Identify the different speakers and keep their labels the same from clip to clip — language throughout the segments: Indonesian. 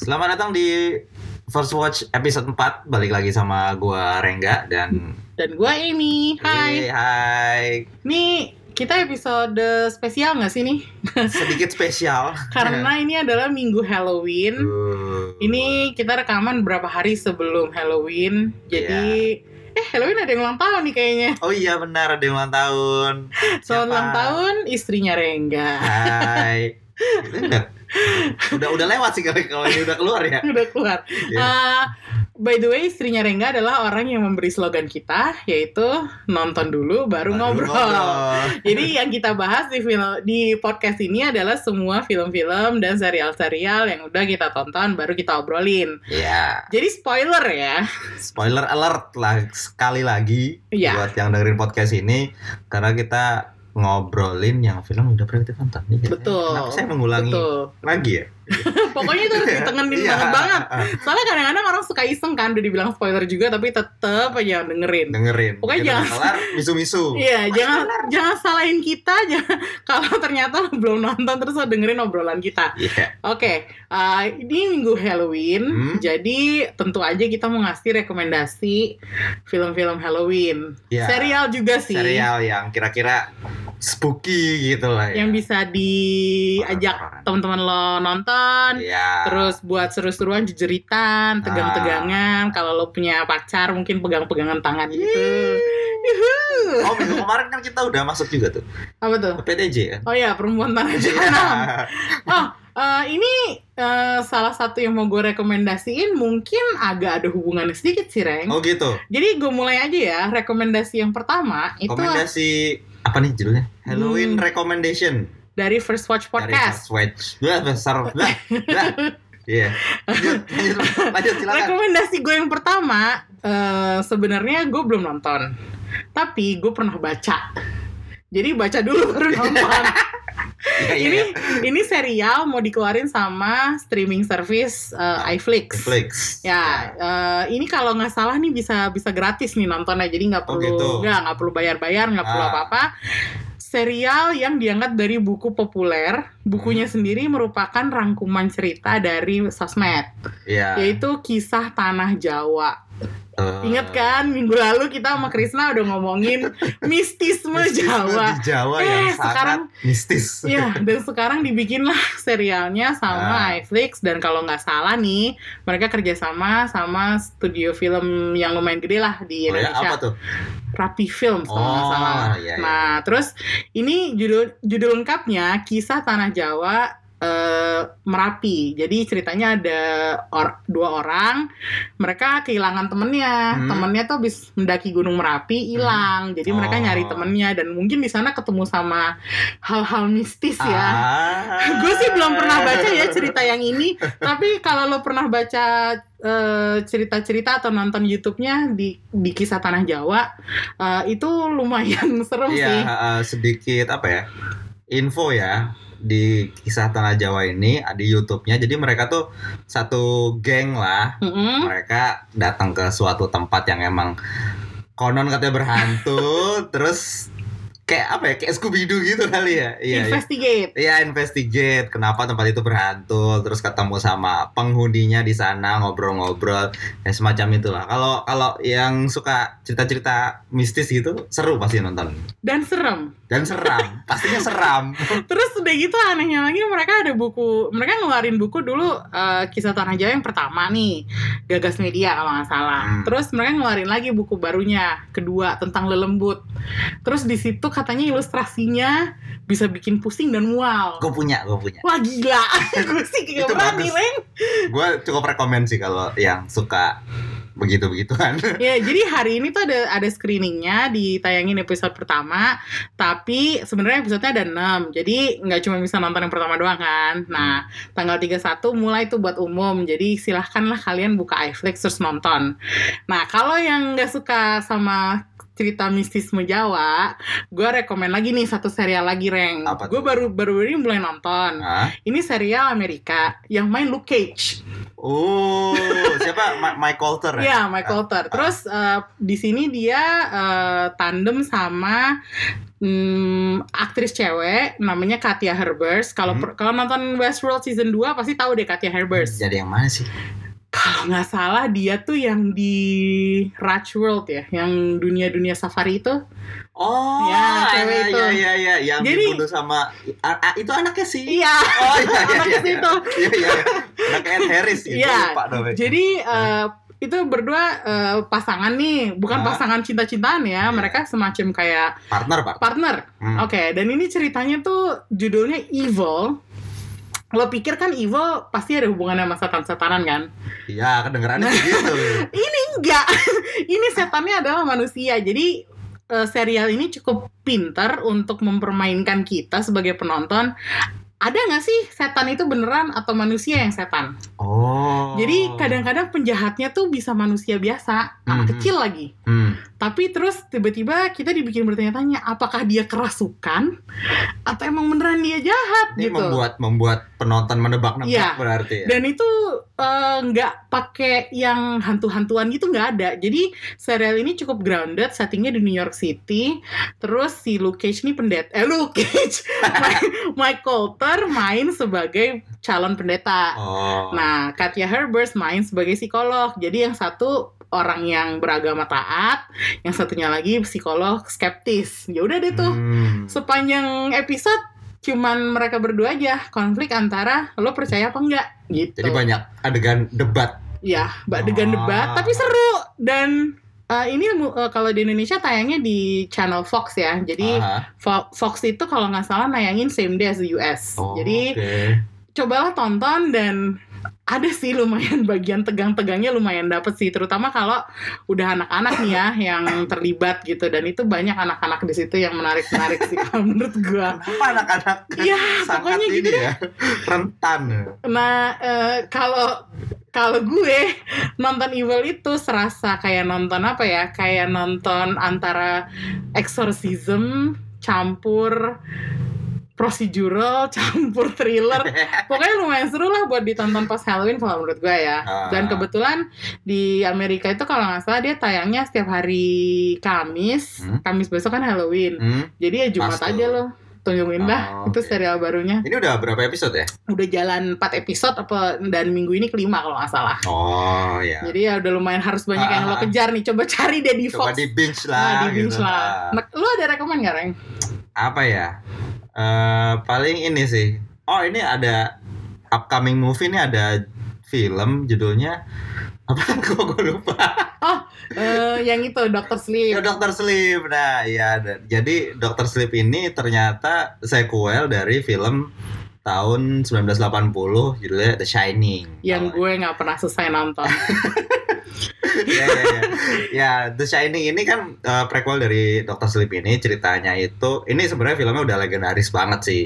Speaker 1: Selamat datang di First Watch episode 4 Balik lagi sama gua Rengga dan
Speaker 2: Dan gue Amy. Hai.
Speaker 1: Yeay, hai.
Speaker 2: Nih, kita episode spesial nggak sih nih?
Speaker 1: Sedikit spesial
Speaker 2: Karena ini adalah minggu Halloween.
Speaker 1: Uh.
Speaker 2: Ini kita rekaman berapa hari sebelum Halloween. Jadi eh Halloween ada yang ulang tahun nih kayaknya.
Speaker 1: Oh iya benar ada yang ulang tahun
Speaker 2: Soal
Speaker 1: Siapa?
Speaker 2: ulang tahun istrinya Rengga.
Speaker 1: Hai Gitu enggak? Udah udah lewat sih kali kalau ini udah keluar ya
Speaker 2: Udah keluar.
Speaker 1: Iya.
Speaker 2: Ah, by the way, istrinya Rengga adalah orang yang memberi slogan kita, yaitu nonton dulu baru, ngobrol. Jadi yang kita bahas di film di podcast ini adalah semua film-film dan serial-serial yang udah kita tonton baru kita obrolin.
Speaker 1: Ya
Speaker 2: Jadi spoiler ya.
Speaker 1: spoiler alert lah sekali lagi
Speaker 2: Iya.
Speaker 1: Buat yang dengerin podcast ini Karena kita ngobrolin yang film udah pernah kita tonton Iya.
Speaker 2: Betul.
Speaker 1: Kenapa saya mengulangi
Speaker 2: Betul.
Speaker 1: lagi ya?
Speaker 2: Gitu. Pokoknya itu harus ditengenin
Speaker 1: Iya.
Speaker 2: banget banget. Soalnya kadang-kadang orang suka iseng kan udah dibilang spoiler juga tapi tetep aja dengerin.
Speaker 1: ah, dengerin.
Speaker 2: Pokoknya
Speaker 1: Kita
Speaker 2: jangan-
Speaker 1: kelar misu-misu.
Speaker 2: Iya, jangan jangan salahin kita jangan, kalau ternyata lo belum nonton terus lo dengerin obrolan kita.
Speaker 1: Iya.
Speaker 2: Oke, eh, ini minggu Halloween,
Speaker 1: Hmm.
Speaker 2: jadi tentu aja kita mau ngasih rekomendasi film-film Halloween.
Speaker 1: Iya.
Speaker 2: Serial juga sih.
Speaker 1: Serial iya. yang kira-kira spooky gitu lah.
Speaker 2: Yang bisa diajak teman-teman lo nonton.
Speaker 1: Iya. Ah.
Speaker 2: Terus buat seru-seruan jejeritan, tegang-tegangan. Kalau lo punya pacar mungkin pegang-pegangan tangan
Speaker 1: Iya.
Speaker 2: gitu. Yuhu.
Speaker 1: Oh, minggu kemarin kan kita udah masuk juga tuh.
Speaker 2: Apa tuh?
Speaker 1: PDJ kan?
Speaker 2: Oh ya, perempuan tanah
Speaker 1: Iya.
Speaker 2: jahanam. Eh, ini eh, salah satu yang mau gue rekomendasiin mungkin agak ada hubungannya sedikit sih, Reng.
Speaker 1: Oh gitu.
Speaker 2: Jadi gue mulai aja ya, rekomendasi yang pertama itu
Speaker 1: Rekomendasi apa nih judulnya? Halloween
Speaker 2: Hmm.
Speaker 1: recommendation
Speaker 2: dari First Watch
Speaker 1: dari
Speaker 2: Podcast.
Speaker 1: Swatch. Dua besar. Dua. Dua. Iya. Lanjut, lanjut, lanjut silakan.
Speaker 2: Rekomendasi gue yang pertama eh, sebenarnya gue belum nonton, tapi gue pernah baca. Jadi baca dulu baru nonton.
Speaker 1: Iya, iya,
Speaker 2: ini
Speaker 1: iya.
Speaker 2: ini serial mau dikeluarin sama streaming service eh, iFlix.
Speaker 1: Netflix.
Speaker 2: Ya, eh, ini kalau nggak salah nih bisa bisa gratis nih nontonnya, jadi nggak
Speaker 1: Oh,
Speaker 2: perlu
Speaker 1: gitu.
Speaker 2: nggak nggak perlu bayar-bayar, nggak perlu
Speaker 1: Ah.
Speaker 2: apa-apa. Serial yang diangkat dari buku populer, bukunya
Speaker 1: Hmm.
Speaker 2: sendiri merupakan rangkuman cerita dari sosmed,
Speaker 1: Iya.
Speaker 2: yaitu kisah tanah Jawa.
Speaker 1: Eh,
Speaker 2: Ingat kan minggu lalu kita sama Krisna udah ngomongin mistisme
Speaker 1: mistisme
Speaker 2: Jawa.
Speaker 1: di Jawa
Speaker 2: Eh,
Speaker 1: yang sangat
Speaker 2: sekarang-
Speaker 1: mistis.
Speaker 2: Iya, dan sekarang dibikinlah serialnya
Speaker 1: Ah.
Speaker 2: sama iFlix dan kalau nggak salah nih mereka kerjasama sama studio film yang lumayan gede lah di
Speaker 1: Oh ya, apa
Speaker 2: Indonesia,
Speaker 1: tuh?
Speaker 2: Rapi Films kalau nggak
Speaker 1: Oh,
Speaker 2: salah.
Speaker 1: iya, iya.
Speaker 2: Nah, terus ini judul judul lengkapnya Kisah Tanah Jawa eh, Merapi. Jadi ceritanya ada or- dua orang, mereka kehilangan temennya.
Speaker 1: Hmm.
Speaker 2: Temennya tuh habis mendaki Gunung Merapi hilang. Jadi
Speaker 1: Oh.
Speaker 2: mereka nyari temennya dan mungkin di sana ketemu sama hal-hal mistis ya
Speaker 1: Ah.
Speaker 2: gue sih belum pernah baca ya cerita yang ini tapi kalau lo pernah baca eh, cerita-cerita atau nonton YouTube-nya di di kisah tanah Jawa eh, itu lumayan serem
Speaker 1: Iya,
Speaker 2: sih
Speaker 1: eh, sedikit apa ya? Info ya di kisah tanah Jawa ini ah, di YouTube-nya. Jadi mereka tuh satu geng lah.
Speaker 2: Mm-mm.
Speaker 1: Mereka datang ke suatu tempat yang emang konon katanya berhantu, terus kayak apa ya? Kayak Scooby Doo gitu kali ya. Iya. iya.
Speaker 2: investigate
Speaker 1: Iya, investigate kenapa tempat itu berhantu, terus ketemu sama penghuninya di sana ngobrol-ngobrol, ya semacam itulah. Kalau kalau yang suka cerita-cerita mistis gitu, seru pasti nonton.
Speaker 2: dan serem
Speaker 1: Dan seram, pastinya seram.
Speaker 2: terus udah gitu anehnya lagi mereka ada buku mereka ngeluarin buku dulu eh, kisah tanah Jawa yang pertama nih Gagas Media kalau nggak salah
Speaker 1: Hmm.
Speaker 2: terus mereka ngeluarin lagi buku barunya kedua tentang lelembut terus di situ katanya ilustrasinya bisa bikin pusing dan mual
Speaker 1: Gue punya, gue punya.
Speaker 2: Wah gila, gue sih
Speaker 1: Itu
Speaker 2: gak berani
Speaker 1: bagus.
Speaker 2: Leng
Speaker 1: Gue cukup rekomen sih kalau yang suka begitu-begituan.
Speaker 2: Ya jadi hari ini tuh ada ada screeningnya ditayangin episode pertama Tapi sebenarnya episodenya ada 6 Jadi nggak cuma bisa nonton yang pertama doang kan Nah tanggal 31 mulai tuh buat umum Jadi silahkanlah kalian buka iFlix terus nonton Nah kalau yang nggak suka sama cerita mistisme Jawa, gue rekomen lagi nih satu serial lagi Reng.
Speaker 1: Apa tuh?
Speaker 2: Gue
Speaker 1: Nah.
Speaker 2: baru baru ini mulai nonton.
Speaker 1: Hah?
Speaker 2: Ini serial Amerika yang main Luke Cage.
Speaker 1: Oh, siapa? Ma- Mike Coulter ya?
Speaker 2: Iya, Michael Ter. Terus eh, di sini dia eh, tandem sama hmm, aktris cewek namanya Katia Herbers. Kalau
Speaker 1: Hmm.
Speaker 2: per- kalau nonton Westworld season 2 pasti tahu deh Katia Herbers.
Speaker 1: Jadi yang mana sih? Hmm.
Speaker 2: Kalau nggak salah dia tuh yang di Raj World ya, yang dunia-dunia safari itu.
Speaker 1: Oh,
Speaker 2: Ya, cewek itu.
Speaker 1: Iya, iya, iya. Yang
Speaker 2: Jadi-
Speaker 1: dibunuh sama... Ah, ah, itu anaknya sih.
Speaker 2: Iya.
Speaker 1: Oh, iya, iya,
Speaker 2: Anak
Speaker 1: iya.
Speaker 2: itu.
Speaker 1: Iya, iya. Anaknya Ed Harris. Itu
Speaker 2: Iya.
Speaker 1: lupa namanya.
Speaker 2: Jadi eh, itu berdua eh, pasangan nih, bukan
Speaker 1: Hah?
Speaker 2: pasangan cinta-cintaan ya,
Speaker 1: Iya.
Speaker 2: mereka semacam kayak
Speaker 1: partner, partner.
Speaker 2: partner.
Speaker 1: Hmm.
Speaker 2: Oke, dan ini ceritanya tuh judulnya Evil. Lo pikir kan evil pasti ada hubungannya sama setan-setanan kan?
Speaker 1: Iya, kedengerannya gitu. begitu.
Speaker 2: Enggak. ini setannya adalah manusia. Jadi eh, serial ini cukup pinter untuk mempermainkan kita sebagai penonton. Ada nggak sih setan itu beneran atau manusia yang setan?
Speaker 1: Oh.
Speaker 2: Jadi kadang-kadang penjahatnya tuh bisa manusia biasa, anak
Speaker 1: Mhm.
Speaker 2: kecil lagi.
Speaker 1: Hmm.
Speaker 2: Tapi terus tiba-tiba kita dibikin bertanya-tanya, apakah dia kerasukan atau emang beneran dia jahat
Speaker 1: Ini
Speaker 2: gitu?
Speaker 1: membuat membuat penonton menebak-nebak
Speaker 2: Iya.
Speaker 1: berarti ya.
Speaker 2: Dan itu eh, nggak pakai yang hantu-hantuan gitu nggak ada. Jadi serial ini cukup grounded, settingnya di New York City. Terus si Luke Cage ini pendeta, eh Luke Cage, Mike- Mike Coulter main sebagai calon pendeta.
Speaker 1: Oh.
Speaker 2: Nah, Katya Herbers main sebagai psikolog. Jadi yang satu orang yang beragama taat, yang satunya lagi psikolog skeptis. Ya udah deh tuh.
Speaker 1: Hmm.
Speaker 2: Sepanjang episode cuman mereka berdua aja konflik antara lo percaya apa enggak gitu.
Speaker 1: Jadi banyak adegan debat.
Speaker 2: Ya,
Speaker 1: Ah.
Speaker 2: adegan debat tapi seru dan eh, ini eh, kalau di Indonesia tayangnya di channel Fox ya. Jadi
Speaker 1: Aha.
Speaker 2: Fo- Fox itu kalau nggak salah nayangin same day as the US.
Speaker 1: Oh,
Speaker 2: Jadi
Speaker 1: oke.
Speaker 2: cobalah tonton dan ada sih lumayan bagian tegang-tegangnya lumayan dapet sih terutama kalau udah anak-anak nih ya yang terlibat gitu dan itu banyak anak-anak di situ yang menarik-menarik sih kalau menurut gua.
Speaker 1: Kenapa anak-anak
Speaker 2: Iya,
Speaker 1: sangat
Speaker 2: pokoknya
Speaker 1: ini
Speaker 2: gitu
Speaker 1: ya rentan.
Speaker 2: Nah eh, kalau kalau gue nonton Evil itu serasa kayak nonton apa ya kayak nonton antara exorcism campur procedural campur thriller pokoknya lumayan seru lah buat ditonton pas Halloween kalau menurut gue ya.
Speaker 1: Ah.
Speaker 2: Dan kebetulan di Amerika itu kalau nggak salah dia tayangnya setiap hari Kamis.
Speaker 1: Hmm.
Speaker 2: Kamis besok kan Halloween.
Speaker 1: Hmm.
Speaker 2: Jadi ya Jumat
Speaker 1: Pas tuh.
Speaker 2: aja loh. Tunjungin dah.
Speaker 1: Oh,
Speaker 2: Itu
Speaker 1: oke.
Speaker 2: serial barunya.
Speaker 1: Ini udah berapa episode ya?
Speaker 2: Udah jalan 4 episode apa dan minggu ini kelima kalau nggak salah.
Speaker 1: Oh ya.
Speaker 2: Jadi ya udah lumayan harus banyak yang lo
Speaker 1: Ah.
Speaker 2: kejar nih. Coba cari deh di
Speaker 1: Coba
Speaker 2: Fox.
Speaker 1: di binge
Speaker 2: Nah,
Speaker 1: lah.
Speaker 2: di binge
Speaker 1: gitu.
Speaker 2: lah.
Speaker 1: Nah,
Speaker 2: Nah, Lo ada rekomen nggak, Reng?
Speaker 1: Apa ya? Eh, paling ini sih. Oh ini ada upcoming movie ini ada film judulnya apa kok gue lupa
Speaker 2: Eh, yang itu,
Speaker 1: ya
Speaker 2: Dr. Sleep.
Speaker 1: Dokter Sleep nah ya ada. jadi Dokter Sleep ini ternyata sequel dari film tahun 1980 judulnya The Shining
Speaker 2: Yang
Speaker 1: Kalau-
Speaker 2: gue nggak pernah selesai nonton.
Speaker 1: ya, ya, ya. ya The Shining ini kan eh, prequel dari Dr. Sleep ini ceritanya itu ini sebenarnya filmnya udah legendaris banget sih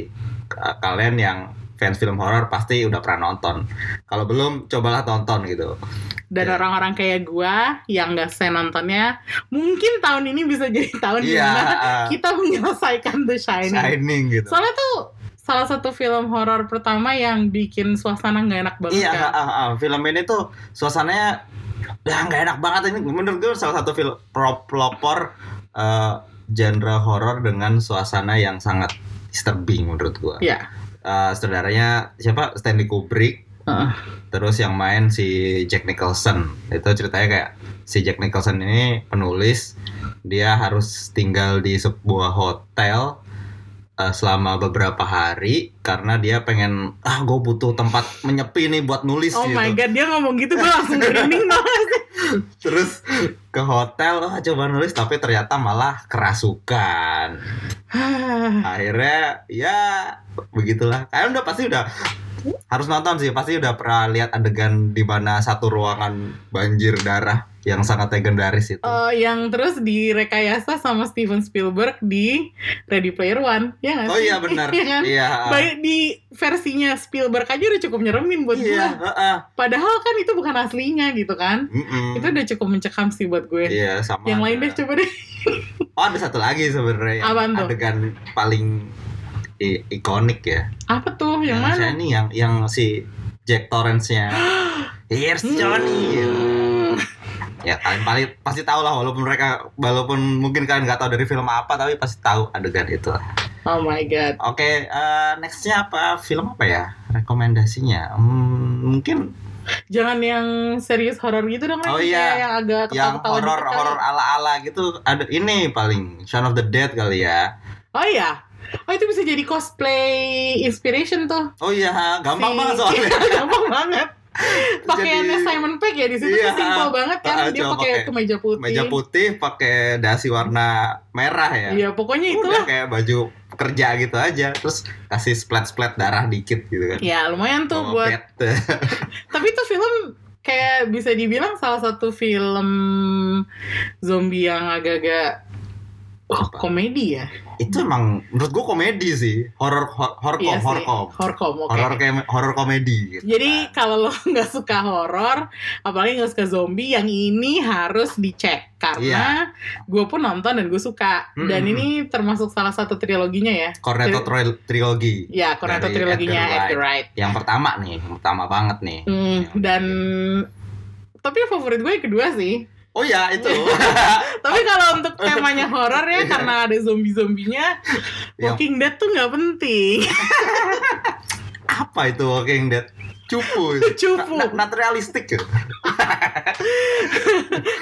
Speaker 1: K- kalian yang fans film horor pasti udah pernah nonton kalau belum cobalah tonton gitu
Speaker 2: dan
Speaker 1: Ya.
Speaker 2: orang-orang kayak gua yang nggak saya nontonnya mungkin tahun ini bisa jadi tahun di
Speaker 1: iya
Speaker 2: mana
Speaker 1: eh,
Speaker 2: kita menyelesaikan The Shining.
Speaker 1: Shining gitu
Speaker 2: Soalnya tuh salah satu film horor pertama yang bikin suasana nggak enak banget
Speaker 1: iya
Speaker 2: kan.
Speaker 1: ah, ah, ah. film ini tuh suasananya udah nggak enak banget ini menurut gue salah satu film pro- pelopor eh, genre horor dengan suasana yang sangat disturbing menurut gue
Speaker 2: Iya.
Speaker 1: Eh, saudaranya siapa Stanley Kubrick
Speaker 2: Heeh.
Speaker 1: terus yang main si Jack Nicholson itu ceritanya kayak si Jack Nicholson ini penulis dia harus tinggal di sebuah hotel eh, selama beberapa hari karena dia pengen ah gue butuh tempat menyepi nih buat nulis
Speaker 2: Oh
Speaker 1: gitu
Speaker 2: my god, dia ngomong gitu gue langsung merinding dong.
Speaker 1: terus ke hotel ah, coba nulis tapi ternyata malah kerasukan
Speaker 2: Eh,
Speaker 1: akhirnya ya begitulah kalian udah pasti udah harus nonton sih pasti udah pernah lihat adegan di mana satu ruangan banjir darah yang sangat legendaris itu.
Speaker 2: Eh, yang terus direkayasa sama Steven Spielberg di Ready Player One, ya nggak
Speaker 1: oh
Speaker 2: sih?
Speaker 1: iya benar.
Speaker 2: Iya kan?
Speaker 1: Iya.
Speaker 2: Baik di versinya Spielberg aja udah cukup nyeremin buat
Speaker 1: Iya.
Speaker 2: gue.
Speaker 1: heeh.
Speaker 2: Padahal kan itu bukan aslinya gitu kan.
Speaker 1: Mm-mm.
Speaker 2: Itu udah cukup mencekam sih buat gue.
Speaker 1: Hmm. Iya sama.
Speaker 2: yang lain
Speaker 1: ada.
Speaker 2: deh coba deh.
Speaker 1: Oh ada satu lagi sebenarnya. yang
Speaker 2: Apaan tuh?
Speaker 1: Adegan paling i- ikonik ya.
Speaker 2: Apa tuh? Yang mana?
Speaker 1: saya ini yang yang si Jack Torrance-nya. Here's Johnny.
Speaker 2: Hmm.
Speaker 1: Ya kalian paling pasti tahu lah walaupun mereka walaupun mungkin kalian nggak tahu dari film apa tapi pasti tahu adegan itu.
Speaker 2: Oh my god.
Speaker 1: Oke, eh, nextnya apa? Film apa ya? Rekomendasinya? Hmm, mungkin
Speaker 2: Jangan yang serius horor gitu dong.
Speaker 1: Oh
Speaker 2: Ren.
Speaker 1: iya.
Speaker 2: Kayak yang agak
Speaker 1: yang
Speaker 2: ketawa-ketawa kan.
Speaker 1: horor
Speaker 2: dikit kali. ya.
Speaker 1: horor ala ala gitu. Ada ini paling Shaun of the Dead kali ya.
Speaker 2: Oh iya. Oh itu bisa jadi cosplay inspiration tuh.
Speaker 1: Oh iya, ha, gampang
Speaker 2: Si-
Speaker 1: banget soalnya.
Speaker 2: Gampang banget. Pakaiannya
Speaker 1: Jadi-
Speaker 2: Simon Pegg ya di situ
Speaker 1: Iya.
Speaker 2: tuh simple banget kan
Speaker 1: Ah,
Speaker 2: dia
Speaker 1: coba
Speaker 2: pakai
Speaker 1: pakai
Speaker 2: kemeja putih.
Speaker 1: Meja putih pakai dasi warna merah ya.
Speaker 2: Iya, pokoknya
Speaker 1: Udah
Speaker 2: itulah.
Speaker 1: kayak baju kerja gitu aja. Terus kasih splat-splat darah dikit gitu kan.
Speaker 2: Ya, lumayan tuh
Speaker 1: Sama
Speaker 2: buat
Speaker 1: pet.
Speaker 2: Tapi itu film kayak bisa dibilang salah satu film zombie yang agak-agak oh,
Speaker 1: Apa?
Speaker 2: komedi ya.
Speaker 1: Itu emang menurut gua komedi sih. Horor hor- horkom
Speaker 2: Iya sih.
Speaker 1: horkom.
Speaker 2: Horkom, oke.
Speaker 1: Horor kayak horor komedi gitu.
Speaker 2: Jadi kalau lo nggak suka horor, apalagi nggak suka zombie, yang ini harus dicek karena gue pun nonton dan gue suka. Dan
Speaker 1: Iya. Mm-mm.
Speaker 2: ini termasuk salah satu triloginya ya.
Speaker 1: Cornetto
Speaker 2: Tri-
Speaker 1: Tril- Trilogy.
Speaker 2: Ya, Cornetto
Speaker 1: Dari
Speaker 2: triloginya
Speaker 1: Edgar
Speaker 2: Edgar Wright.
Speaker 1: Yang pertama nih, yang pertama banget nih.
Speaker 2: Hmm, dan tapi yang favorit gue yang kedua sih.
Speaker 1: Oh ya itu.
Speaker 2: Tapi kalau untuk temanya horor ya karena ada zombie-zombinya,
Speaker 1: Yang-
Speaker 2: Walking Dead tuh nggak penting.
Speaker 1: Apa itu Walking Dead? Cupu. itu.
Speaker 2: Cupu.
Speaker 1: Na- na- not realistic. ya?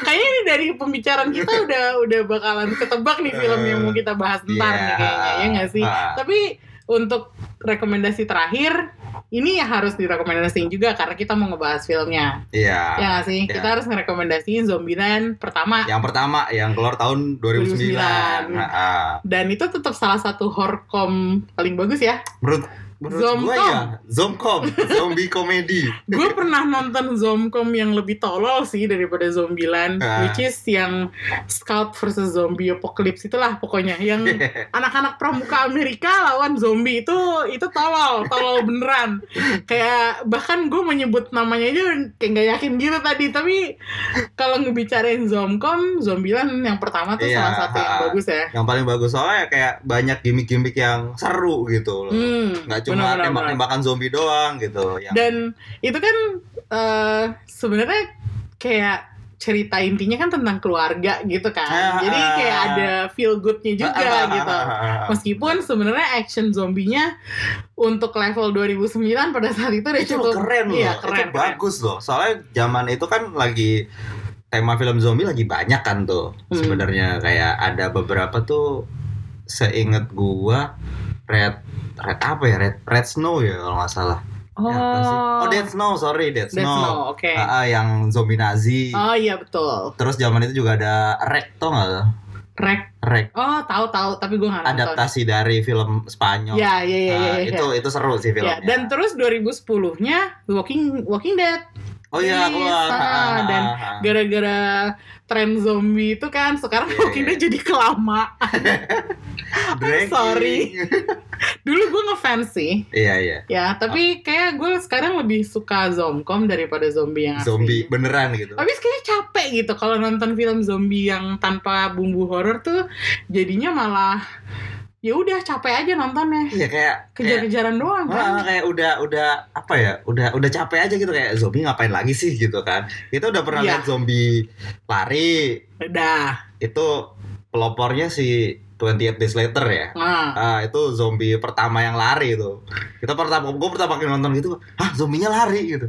Speaker 2: Kayaknya ini dari pembicaraan kita udah udah bakalan ketebak nih film yang mau kita bahas ntar nih
Speaker 1: Iya.
Speaker 2: kayaknya ya nggak sih.
Speaker 1: Ah.
Speaker 2: Tapi untuk rekomendasi terakhir ini ya harus direkomendasiin juga karena kita mau ngebahas filmnya ya
Speaker 1: Iya.
Speaker 2: nggak sih.
Speaker 1: Iya.
Speaker 2: Kita harus ngerekomendasiin Zombieland pertama
Speaker 1: Yang pertama yang keluar tahun 2009.
Speaker 2: 2009.
Speaker 1: Nah, ah.
Speaker 2: dan itu tetap salah satu horror paling bagus ya.
Speaker 1: menurut menurut gua
Speaker 2: Zomcom.
Speaker 1: ya, Zomcom, zombie komedi.
Speaker 2: gue pernah nonton Zomcom yang lebih tolol sih daripada Zombieland,
Speaker 1: Ah.
Speaker 2: which is yang Scout versus Zombie Apocalypse itulah pokoknya yang anak-anak pramuka Amerika lawan zombie itu itu tolol, tolol beneran. Kayak bahkan gue menyebut namanya aja kayak nggak yakin gitu tadi, tapi kalau ngebicarain Zomcom, Zombieland yang pertama tuh
Speaker 1: Iya,
Speaker 2: salah satu yang
Speaker 1: ah.
Speaker 2: bagus ya.
Speaker 1: Yang paling bagus soalnya kayak banyak gimmick-gimmick yang seru gitu loh.
Speaker 2: Hmm,
Speaker 1: Nggak cuma
Speaker 2: bener-bener, bener.
Speaker 1: tembak-tembakan zombie doang gitu. Yang
Speaker 2: dan itu kan eh, sebenarnya kayak cerita intinya kan tentang keluarga gitu
Speaker 1: Ah,
Speaker 2: kan jadi
Speaker 1: ah.
Speaker 2: kayak ada feel goodnya juga
Speaker 1: Ah, ah, ah,
Speaker 2: gitu
Speaker 1: ah, ah, ah.
Speaker 2: meskipun sebenarnya action zombinya untuk level 2009 pada saat itu udah
Speaker 1: itu
Speaker 2: cukup
Speaker 1: keren loh,
Speaker 2: iya,
Speaker 1: itu
Speaker 2: keren, keren.
Speaker 1: bagus loh. Soalnya zaman itu kan lagi tema film zombie lagi banyak kan tuh.
Speaker 2: Hmm.
Speaker 1: Sebenarnya kayak ada beberapa tuh seinget gua red red apa ya red red snow ya kalau nggak salah.
Speaker 2: oh,
Speaker 1: Ya, apa sih? oh dead snow sorry dead
Speaker 2: Dead Snow,
Speaker 1: snow.
Speaker 2: oke
Speaker 1: Ah, ah, yang zombie Nazi.
Speaker 2: oh iya betul
Speaker 1: Terus zaman itu juga ada Rek tau nggak lo?
Speaker 2: rek
Speaker 1: Rek
Speaker 2: oh tahu tahu tapi gue nggak nonton
Speaker 1: adaptasi dari film Spanyol.
Speaker 2: ya ya ya ya,
Speaker 1: Ah,
Speaker 2: ya.
Speaker 1: itu itu seru sih
Speaker 2: Ya,
Speaker 1: filmnya.
Speaker 2: dan terus 2010-nya Walking Walking Dead
Speaker 1: oh iya
Speaker 2: Rilis,
Speaker 1: keluar. Ah,
Speaker 2: ah,
Speaker 1: ah,
Speaker 2: dan
Speaker 1: ah, ah.
Speaker 2: gara-gara tren zombie itu kan sekarang
Speaker 1: Iya,
Speaker 2: Walking
Speaker 1: iya.
Speaker 2: Dead jadi kelama.
Speaker 1: Dragging.
Speaker 2: sorry. Dulu gue ngefans sih,
Speaker 1: iya iya.
Speaker 2: ya. Tapi kayak gue sekarang lebih suka zomcom daripada zombie yang asli.
Speaker 1: zombie beneran gitu.
Speaker 2: Tapi kayaknya capek gitu kalau nonton film zombie yang tanpa bumbu horor tuh jadinya malah ya udah capek aja nontonnya.
Speaker 1: Iya kayak kayak,
Speaker 2: Kejar-kejaran doang
Speaker 1: Wah,
Speaker 2: kan.
Speaker 1: kayak udah udah apa ya? Udah udah capek aja gitu kayak zombie ngapain lagi sih gitu kan. Kita udah pernah
Speaker 2: Iya.
Speaker 1: lihat zombie lari
Speaker 2: Udah.
Speaker 1: itu pelopornya si 28 Days Later ya.
Speaker 2: Nah.
Speaker 1: Ah, itu zombie pertama yang lari itu. Kita pertama gue pertama kali nonton gitu, ah zombinya lari gitu.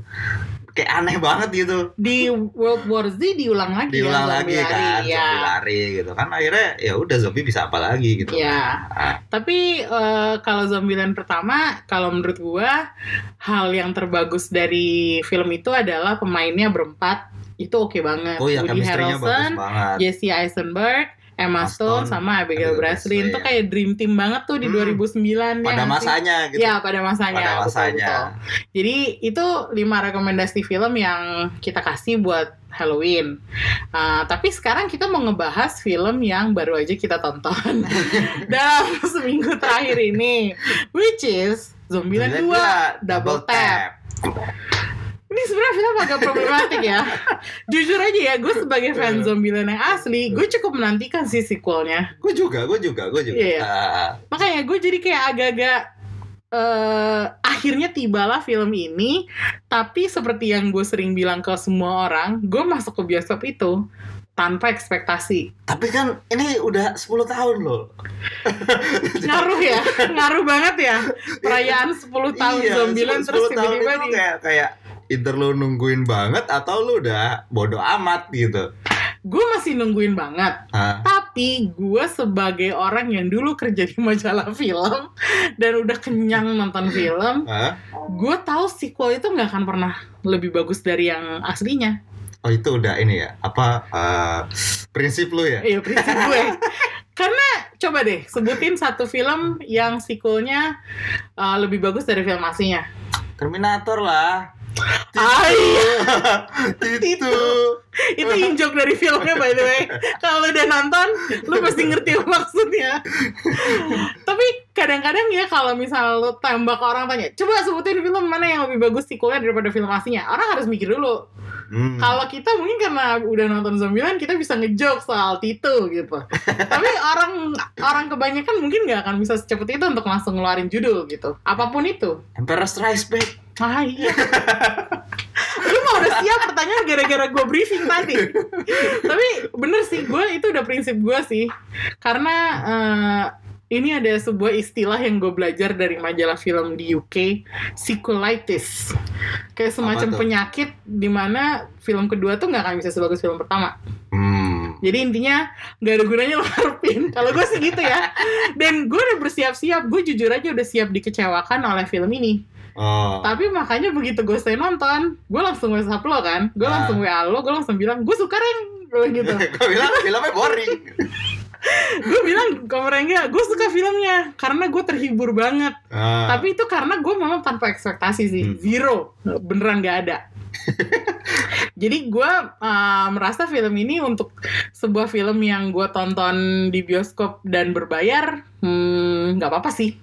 Speaker 1: Kayak aneh banget gitu.
Speaker 2: Di World War Z diulang lagi ya,
Speaker 1: Diulang lagi
Speaker 2: zombie lari,
Speaker 1: kan,
Speaker 2: ya.
Speaker 1: zombie lari gitu kan. Akhirnya ya udah zombie bisa apa lagi gitu.
Speaker 2: Ya,
Speaker 1: Ah.
Speaker 2: tapi eh, kalau Zombieland pertama, kalau menurut gua hal yang terbagus dari film itu adalah pemainnya berempat itu oke banget.
Speaker 1: Oh iya,
Speaker 2: Woody
Speaker 1: chemistry-nya bagus
Speaker 2: Harrelson,
Speaker 1: banget.
Speaker 2: Jesse Eisenberg,
Speaker 1: Emma
Speaker 2: Emma
Speaker 1: Stone,
Speaker 2: Stone, sama Abigail
Speaker 1: Abigail
Speaker 2: Breslin
Speaker 1: Breslin,
Speaker 2: itu
Speaker 1: ya.
Speaker 2: kayak dream team banget tuh di
Speaker 1: Hmm.
Speaker 2: 2009 ya
Speaker 1: Pada
Speaker 2: nggak sih?
Speaker 1: masanya gitu.
Speaker 2: Ya pada masanya.
Speaker 1: pada
Speaker 2: betul-betul.
Speaker 1: masanya.
Speaker 2: Jadi itu lima rekomendasi film yang kita kasih buat Halloween. Uh, tapi sekarang kita mau ngebahas film yang baru aja kita tonton dalam seminggu terakhir ini, which is Zombieland 2 Double Tap. Ini sebenarnya film agak problematik ya. Jujur aja ya, gue sebagai fan Zombieland yang asli, gue cukup menantikan sih sequelnya.
Speaker 1: Gue juga, gue juga, gue juga.
Speaker 2: Iya.
Speaker 1: Ah,
Speaker 2: Makanya gue jadi kayak agak-agak eh akhirnya tibalah film ini, tapi seperti yang gue sering bilang ke semua orang, gue masuk ke bioskop itu tanpa ekspektasi.
Speaker 1: tapi kan ini udah 10 tahun loh.
Speaker 2: Ngaruh ya, ngaruh banget ya. Perayaan 10 tahun
Speaker 1: Iya,
Speaker 2: Zombieland
Speaker 1: 10
Speaker 2: terus
Speaker 1: tahun
Speaker 2: tiba-tiba
Speaker 1: itu
Speaker 2: di
Speaker 1: kayak kayak either lu nungguin banget atau lu udah bodoh amat gitu.
Speaker 2: Gue masih nungguin banget.
Speaker 1: Ah.
Speaker 2: Tapi gue sebagai orang yang dulu kerja di majalah film dan udah kenyang nonton film,
Speaker 1: ah.
Speaker 2: gue tahu sequel itu nggak akan pernah lebih bagus dari yang aslinya.
Speaker 1: Oh itu udah ini ya apa eh, prinsip lu ya?
Speaker 2: Iya prinsip gue. Karena coba deh sebutin satu film yang sequelnya uh, lebih bagus dari film aslinya.
Speaker 1: Terminator lah.
Speaker 2: Ah, iya.
Speaker 1: Itu.
Speaker 2: Itu injok dari filmnya by the way. Kalau udah nonton, lu pasti ngerti maksudnya. Tapi kadang-kadang ya kalau misal lu tembak orang tanya, coba sebutin film mana yang lebih bagus sequelnya daripada film aslinya. Orang harus mikir dulu.
Speaker 1: Hmm.
Speaker 2: Kalau kita mungkin karena udah nonton Zombieland kita bisa ngejok soal Tito gitu. Tapi orang orang kebanyakan mungkin nggak akan bisa secepat itu untuk langsung ngeluarin judul gitu. Apapun itu.
Speaker 1: Emperor Strikes Back.
Speaker 2: Ah iya. Lu mau udah siap pertanyaan gara-gara gue briefing tadi. Tapi bener sih gue itu udah prinsip gue sih. Karena eh, ini ada sebuah istilah yang gue belajar dari majalah film di UK, sequelitis. Kayak semacam
Speaker 1: tuh?
Speaker 2: penyakit di mana film kedua tuh nggak akan bisa sebagus film pertama.
Speaker 1: Hmm.
Speaker 2: Jadi intinya nggak ada gunanya lo harapin. Kalau gue sih gitu ya. Dan gue udah bersiap-siap. Gue jujur aja udah siap dikecewakan oleh film ini.
Speaker 1: Oh.
Speaker 2: Tapi makanya begitu gue selesai nonton, gue langsung WhatsApp lo kan, gue
Speaker 1: Ah.
Speaker 2: langsung WA lo, gue langsung bilang, gue suka reng, gue gitu.
Speaker 1: Kau bilang filmnya boring.
Speaker 2: gue bilang ke mereka, gue suka filmnya, karena gue terhibur banget.
Speaker 1: Ah.
Speaker 2: Tapi itu karena gue memang tanpa ekspektasi sih,
Speaker 1: Hmm.
Speaker 2: zero, beneran gak ada. Jadi gue uh, merasa film ini untuk sebuah film yang gue tonton di bioskop dan berbayar, hmm, nggak apa-apa sih.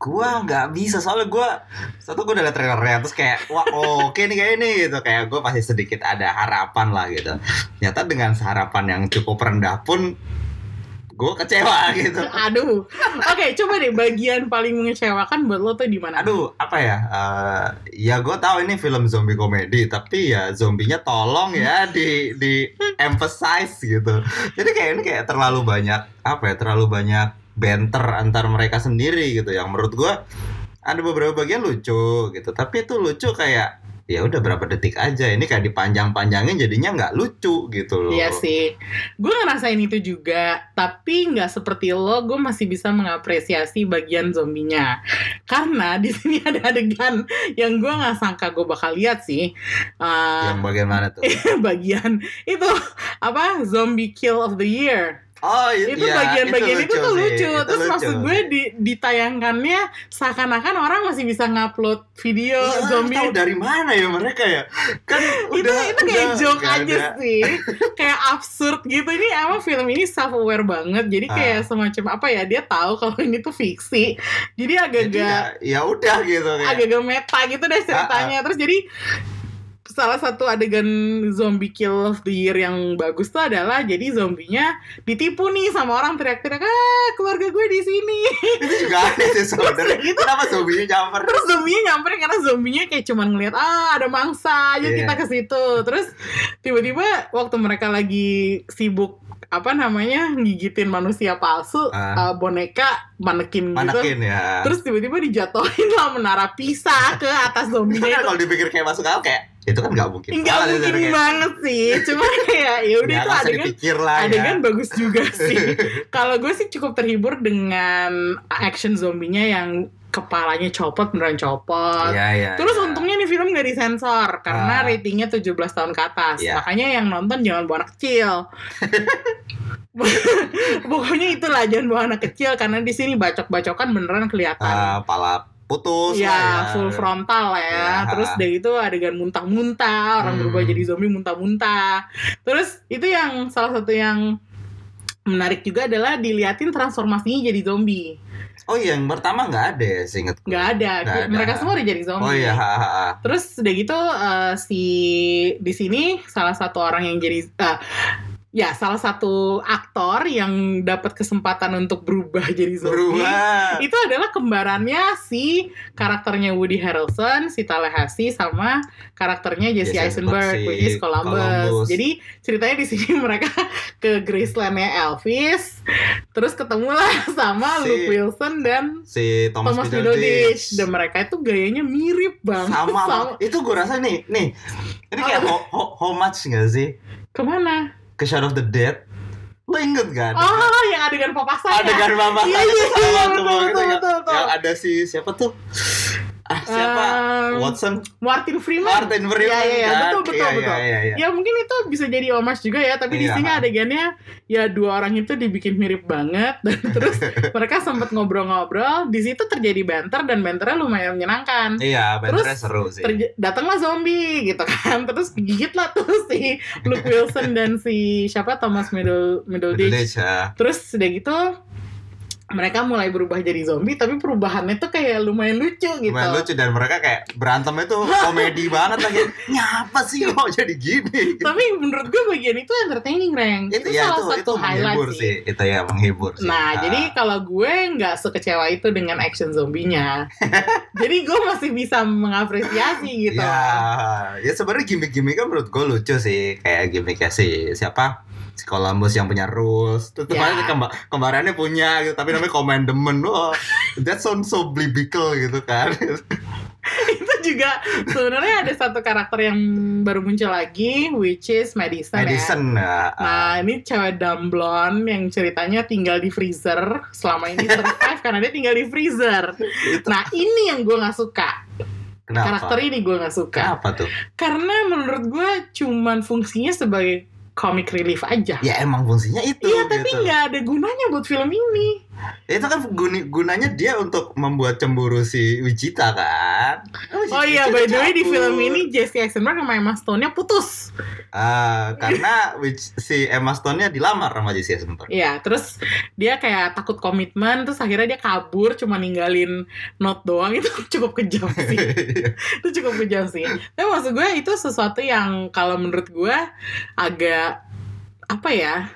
Speaker 1: gua nggak bisa soalnya gua satu gua udah liat trailernya terus kayak wah oke nih kayak ini gitu kayak gua pasti sedikit ada harapan lah gitu. Nyata dengan harapan yang cukup rendah pun gua kecewa gitu.
Speaker 2: Aduh. Oke, coba deh bagian paling mengecewakan buat lo tuh di mana?
Speaker 1: Aduh, apa ya? Eh, ya gue tahu ini film zombie komedi, tapi ya zombinya tolong ya di di emphasize gitu. Jadi kayak ini kayak terlalu banyak apa ya? Terlalu banyak banter antar mereka sendiri gitu. Yang menurut gue ada beberapa bagian lucu gitu, tapi itu lucu kayak ya udah berapa detik aja. Ini kayak dipanjang-panjangin jadinya nggak lucu gitu loh.
Speaker 2: Iya sih, gue ngerasain itu juga, tapi nggak seperti lo, gue masih bisa mengapresiasi bagian zombinya. Karena di sini ada adegan yang gue nggak sangka gue bakal lihat sih,
Speaker 1: Yang
Speaker 2: Uh,
Speaker 1: bagaimana tuh?
Speaker 2: bagian itu apa zombie kill of the year.
Speaker 1: Oh i-
Speaker 2: Itu
Speaker 1: iya,
Speaker 2: bagian-bagian itu,
Speaker 1: sih,
Speaker 2: tuh lucu.
Speaker 1: itu
Speaker 2: Terus
Speaker 1: lucu.
Speaker 2: maksud gue di- ditayangkannya seakan-akan orang masih bisa ngupload video
Speaker 1: Iya,
Speaker 2: zombie
Speaker 1: tahu dari mana ya mereka ya? Kan
Speaker 2: itu
Speaker 1: udah
Speaker 2: itu kayak
Speaker 1: udah
Speaker 2: joke
Speaker 1: nggak
Speaker 2: aja
Speaker 1: ada.
Speaker 2: sih kayak absurd gitu ini emang film ini self aware banget jadi kayak
Speaker 1: Ah.
Speaker 2: semacam apa ya dia tahu kalau ini tuh fiksi jadi
Speaker 1: Jadi
Speaker 2: agak-agak
Speaker 1: ya, ya Ah, udah gitu kayak.
Speaker 2: agak-agak meta gitu deh ceritanya terus jadi salah satu adegan zombie kill of the year yang bagus tuh adalah jadi zombinya ditipu nih sama orang teriak-teriak ah keluarga gue di sini
Speaker 1: Itu juga aneh sih sebenarnya. Kenapa zombinya nyamper?
Speaker 2: gitu. terus zombinya nyamperin karena zombinya kayak cuman ngeliat ah ada mangsa aja
Speaker 1: Iya.
Speaker 2: kita ke situ terus tiba-tiba waktu mereka lagi sibuk apa namanya gigitin manusia palsu
Speaker 1: Ah.
Speaker 2: eh, boneka manekin, gitu
Speaker 1: Manekin ya. Terus
Speaker 2: terus tiba-tiba dijatuhin lah menara pisah ke atas zombinya itu
Speaker 1: kalau dipikir kayak masuk akal kayak itu kan nggak mungkin.
Speaker 2: nggak
Speaker 1: banget,
Speaker 2: mungkin
Speaker 1: kayak,
Speaker 2: banget sih cuma kayak ya udah
Speaker 1: nggak
Speaker 2: itu
Speaker 1: usah
Speaker 2: adegan
Speaker 1: dipikir lah
Speaker 2: adegan
Speaker 1: ya.
Speaker 2: bagus juga sih. Kalau gue sih cukup terhibur dengan action zombinya yang kepalanya copot beneran copot.
Speaker 1: Iya, iya.
Speaker 2: Terus
Speaker 1: iya.
Speaker 2: untungnya nih film nggak disensor karena
Speaker 1: Ah.
Speaker 2: ratingnya 17 tahun ke atas.
Speaker 1: Ya.
Speaker 2: Makanya yang nonton jangan bawa anak kecil. Pokoknya itulah jangan bawa anak kecil karena di sini bacok-bacokan beneran kelihatan.
Speaker 1: Ah, Eh, pala putus
Speaker 2: ya,
Speaker 1: lah ya.
Speaker 2: full frontal lah ya.
Speaker 1: Ya.
Speaker 2: Terus dari itu adegan muntah-muntah, orang
Speaker 1: Hmm.
Speaker 2: berubah jadi zombie muntah-muntah. Terus itu yang salah satu yang menarik juga adalah diliatin transformasinya jadi zombie.
Speaker 1: Oh iya, yang pertama nggak ada ya seingatku.
Speaker 2: Nggak ada.
Speaker 1: Nggak ada.
Speaker 2: Mereka semua udah jadi zombie.
Speaker 1: Oh iya, ha, ha, ha.
Speaker 2: Terus udah gitu eh, si di sini salah satu orang yang jadi eh, ya salah satu aktor yang dapat kesempatan untuk berubah jadi zombie.
Speaker 1: berubah.
Speaker 2: Itu adalah kembarannya si karakternya Woody Harrelson, si Tallahassee sama karakternya Jesse
Speaker 1: Jesse
Speaker 2: Eisenberg,
Speaker 1: Eisenberg, si
Speaker 2: which is Columbus.
Speaker 1: Columbus.
Speaker 2: Jadi ceritanya di sini mereka ke Graceland-nya Elvis, terus ketemulah
Speaker 1: Si-
Speaker 2: sama Luke Wilson dan
Speaker 1: Si Thomas,
Speaker 2: Thomas
Speaker 1: Middleditch.
Speaker 2: Middleditch dan mereka itu gayanya mirip banget
Speaker 1: sama, itu gue rasa nih nih ini kayak ho, ho, homage nggak sih
Speaker 2: Kemana?
Speaker 1: ke Shaun of the Dead lo inget gak ada
Speaker 2: Oh, yang adegan papasan ya?
Speaker 1: adegan mama
Speaker 2: Iya,
Speaker 1: itu
Speaker 2: iya,
Speaker 1: sama
Speaker 2: iya,
Speaker 1: tuh,
Speaker 2: betul,
Speaker 1: waktu
Speaker 2: betul,
Speaker 1: yang-
Speaker 2: betul, betul.
Speaker 1: yang ada si siapa tuh ah siapa
Speaker 2: Ehm,
Speaker 1: Watson
Speaker 2: Martin Freeman.
Speaker 1: Martin Freeman
Speaker 2: Iya, iya, iya,
Speaker 1: kan?
Speaker 2: betul, betul,
Speaker 1: Iya,
Speaker 2: betul.
Speaker 1: iya, iya, iya.
Speaker 2: Ya mungkin itu bisa jadi homage juga ya, tapi di
Speaker 1: Iya.
Speaker 2: sini adegannya ya dua orang itu dibikin mirip banget dan terus mereka sempat ngobrol-ngobrol, di situ terjadi banter dan banternya lumayan menyenangkan.
Speaker 1: Iya, banternya
Speaker 2: Terus
Speaker 1: seru sih.
Speaker 2: Terj- datanglah zombie gitu kan, terus gigit lah tuh si Luke Wilson dan si siapa Thomas Middle Middleditch
Speaker 1: Middleditch, ya.
Speaker 2: Terus udah gitu mereka mulai berubah jadi zombie tapi perubahannya tuh kayak lumayan lucu gitu.
Speaker 1: Lumayan lucu dan mereka kayak berantem itu komedi banget lagi. Nyapa sih kok jadi gini?
Speaker 2: Tapi menurut gue bagian itu entertaining, Reng. Itu,
Speaker 1: ya
Speaker 2: salah
Speaker 1: itu
Speaker 2: satu
Speaker 1: itu
Speaker 2: highlight
Speaker 1: menghibur
Speaker 2: sih.
Speaker 1: sih. Itu ya menghibur sih.
Speaker 2: Nah,
Speaker 1: Ah.
Speaker 2: jadi kalau gue nggak sekecewa itu dengan action zombinya. jadi gue masih bisa mengapresiasi gitu.
Speaker 1: Ya, ya sebenarnya gimmick-gimmicknya menurut gue lucu sih kayak gimmicknya si siapa si Columbus yang punya rules terus
Speaker 2: Ya.
Speaker 1: kemarin kemba- kembarannya punya gitu tapi namanya Commanderman oh that sounds so biblical gitu kan
Speaker 2: itu juga sebenarnya ada satu karakter yang baru muncul lagi, which is Madison. ya.
Speaker 1: Madison ya.
Speaker 2: Nah, ini cewek dumb blonde yang ceritanya tinggal di freezer. Selama ini survive karena dia tinggal di freezer.
Speaker 1: Itu
Speaker 2: Nah, ini yang gue nggak suka.
Speaker 1: kenapa?
Speaker 2: Karakter ini gue nggak suka.
Speaker 1: Kenapa tuh?
Speaker 2: Karena menurut gue cuman fungsinya sebagai comic relief aja.
Speaker 1: Ya emang fungsinya itu
Speaker 2: Iya, tapi
Speaker 1: gitu.
Speaker 2: nggak ada gunanya buat film ini.
Speaker 1: Itu kan guni- gunanya dia untuk membuat cemburu si Wijita kan.
Speaker 2: Oh iya, by the way di film ini Jesse Eisenberg sama Emma Stone-nya putus.
Speaker 1: Ah, karena Wij- si Emma Stone-nya dilamar sama Jesse Eisenberg.
Speaker 2: Iya, terus dia kayak takut komitmen, terus akhirnya dia kabur cuma ninggalin note doang. Itu cukup kejam sih. itu cukup kejam sih. Tapi maksud gue itu sesuatu yang kalau menurut gue agak apa ya?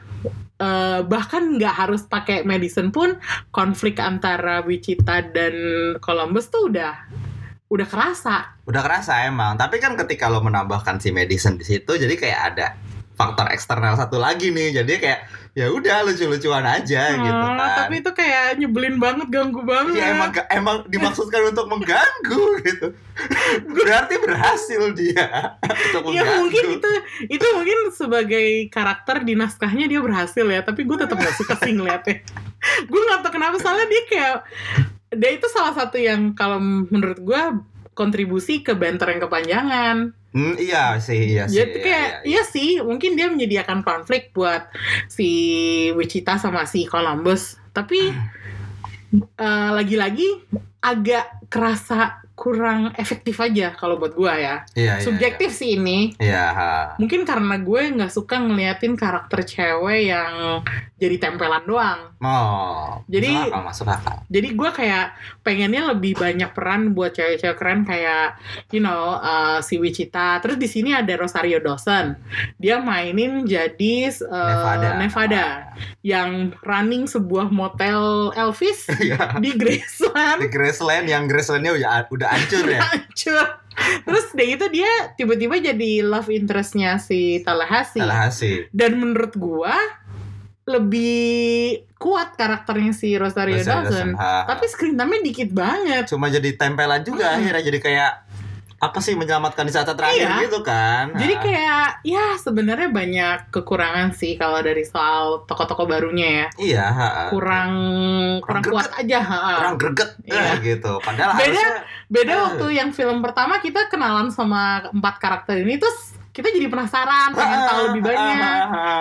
Speaker 2: eh, bahkan nggak harus pakai medicine pun konflik antara Wichita dan Columbus tuh udah udah kerasa.
Speaker 1: udah kerasa emang tapi kan ketika lo menambahkan si Madison di situ jadi kayak ada faktor eksternal satu lagi nih jadi kayak ya udah lucu-lucuan aja gitu
Speaker 2: Ah,
Speaker 1: kan
Speaker 2: Tapi itu kayak nyebelin banget, ganggu banget.
Speaker 1: ya emang emang dimaksudkan untuk mengganggu gitu berarti berhasil dia untuk
Speaker 2: Ya
Speaker 1: mengganggu.
Speaker 2: mungkin itu itu mungkin sebagai karakter di naskahnya dia berhasil ya, tapi gue tetap gak suka sih ngeliatnya. gue gak tau kenapa soalnya dia kayak dia itu salah satu yang kalau menurut gue kontribusi ke banter yang kepanjangan.
Speaker 1: Hmm, iya sih iya sih
Speaker 2: Jadi kayak
Speaker 1: iya, iya.
Speaker 2: iya sih, mungkin dia menyediakan konflik buat si Wichita sama si Columbus, tapi eh, lagi-lagi agak kerasa kurang efektif aja kalau buat gue ya.
Speaker 1: Iya, iya,
Speaker 2: Subjektif sih ini,
Speaker 1: iya ha.
Speaker 2: mungkin karena gue nggak suka ngeliatin karakter cewek yang jadi tempelan doang
Speaker 1: oh
Speaker 2: Jadi-
Speaker 1: masuk akal, masuk akal.
Speaker 2: jadi gue kayak pengennya lebih banyak peran buat cewek-cewek keren kayak you know uh, si Wichita terus di sini ada Rosario Dawson dia mainin jadi uh,
Speaker 1: Nevada
Speaker 2: Nevada yang running sebuah motel Elvis
Speaker 1: Iya.
Speaker 2: di Graceland
Speaker 1: di Graceland yang Gracelandnya udah udah hancur ya
Speaker 2: Hancur. terus udah gitu dia tiba-tiba jadi love interestnya si Tallahassee
Speaker 1: Tallahassee
Speaker 2: dan menurut gua lebih kuat karakternya si Rosario
Speaker 1: Rosario Dawson,
Speaker 2: Dawson.
Speaker 1: ha.
Speaker 2: Tapi screen time-nya dikit banget.
Speaker 1: cuma jadi tempelan juga
Speaker 2: Mm-mm.
Speaker 1: akhirnya jadi kayak apa sih menyelamatkan di saat terakhir
Speaker 2: Iya.
Speaker 1: gitu kan Ah.
Speaker 2: Jadi kayak ya sebenarnya banyak kekurangan sih kalau dari soal tokoh-tokoh barunya ya.
Speaker 1: iya ha, ah.
Speaker 2: Kurang kurang
Speaker 1: Kurang
Speaker 2: kuat aja, ha.
Speaker 1: kurang greget
Speaker 2: Iya.
Speaker 1: ah, gitu padahal
Speaker 2: Beda-
Speaker 1: harusnya
Speaker 2: Beda
Speaker 1: Eh.
Speaker 2: waktu yang film pertama kita kenalan sama empat karakter ini terus kita jadi penasaran, pengen
Speaker 1: Ah,
Speaker 2: tahu lebih banyak,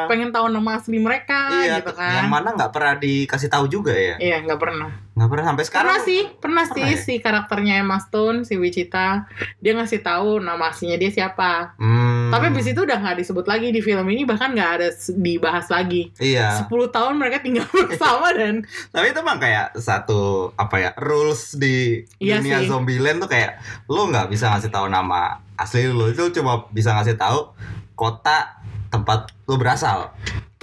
Speaker 2: pengen tahu nama asli mereka
Speaker 1: Iya,
Speaker 2: gitu
Speaker 1: yang
Speaker 2: kan.
Speaker 1: mana nggak pernah dikasih tahu juga ya?
Speaker 2: Iya, nggak pernah.
Speaker 1: Nggak pernah sampai sekarang.
Speaker 2: Pernah sih, pernah, sih
Speaker 1: pernah ya?
Speaker 2: si karakternya Emma Stone, si Wichita, dia ngasih tahu nama aslinya dia siapa.
Speaker 1: Hmm,
Speaker 2: Tapi abis itu udah nggak disebut lagi di film ini, bahkan nggak ada s- dibahas lagi.
Speaker 1: Iya,
Speaker 2: 10 tahun mereka tinggal bersama dan
Speaker 1: tapi itu emang kayak satu apa ya rules di
Speaker 2: Iya
Speaker 1: dunia
Speaker 2: sih.
Speaker 1: Zombieland tuh kayak lo nggak bisa ngasih tahu nama asli lo itu cuma bisa ngasih tahu kota tempat lo berasal.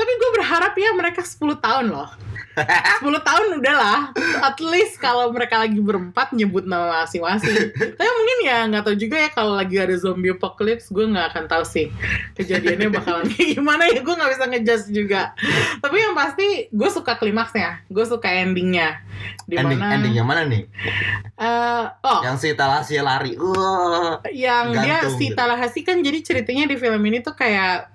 Speaker 2: tapi gue berharap ya mereka 10 tahun loh 10 tahun udahlah at least kalau mereka lagi berempat nyebut nama masing-masing tapi mungkin ya nggak tahu juga ya kalau lagi ada zombie apocalypse gue nggak akan tahu sih kejadiannya bakalan kayak gimana ya gue nggak bisa ngejudge juga tapi yang pasti gue suka klimaksnya gue suka endingnya di
Speaker 1: ending
Speaker 2: mana
Speaker 1: ending yang mana nih?
Speaker 2: eh, oh
Speaker 1: Yang si Talasia lari. Wah.
Speaker 2: yang dia
Speaker 1: Gantung
Speaker 2: si
Speaker 1: gitu.
Speaker 2: Talahasi kan jadi ceritanya di film ini tuh kayak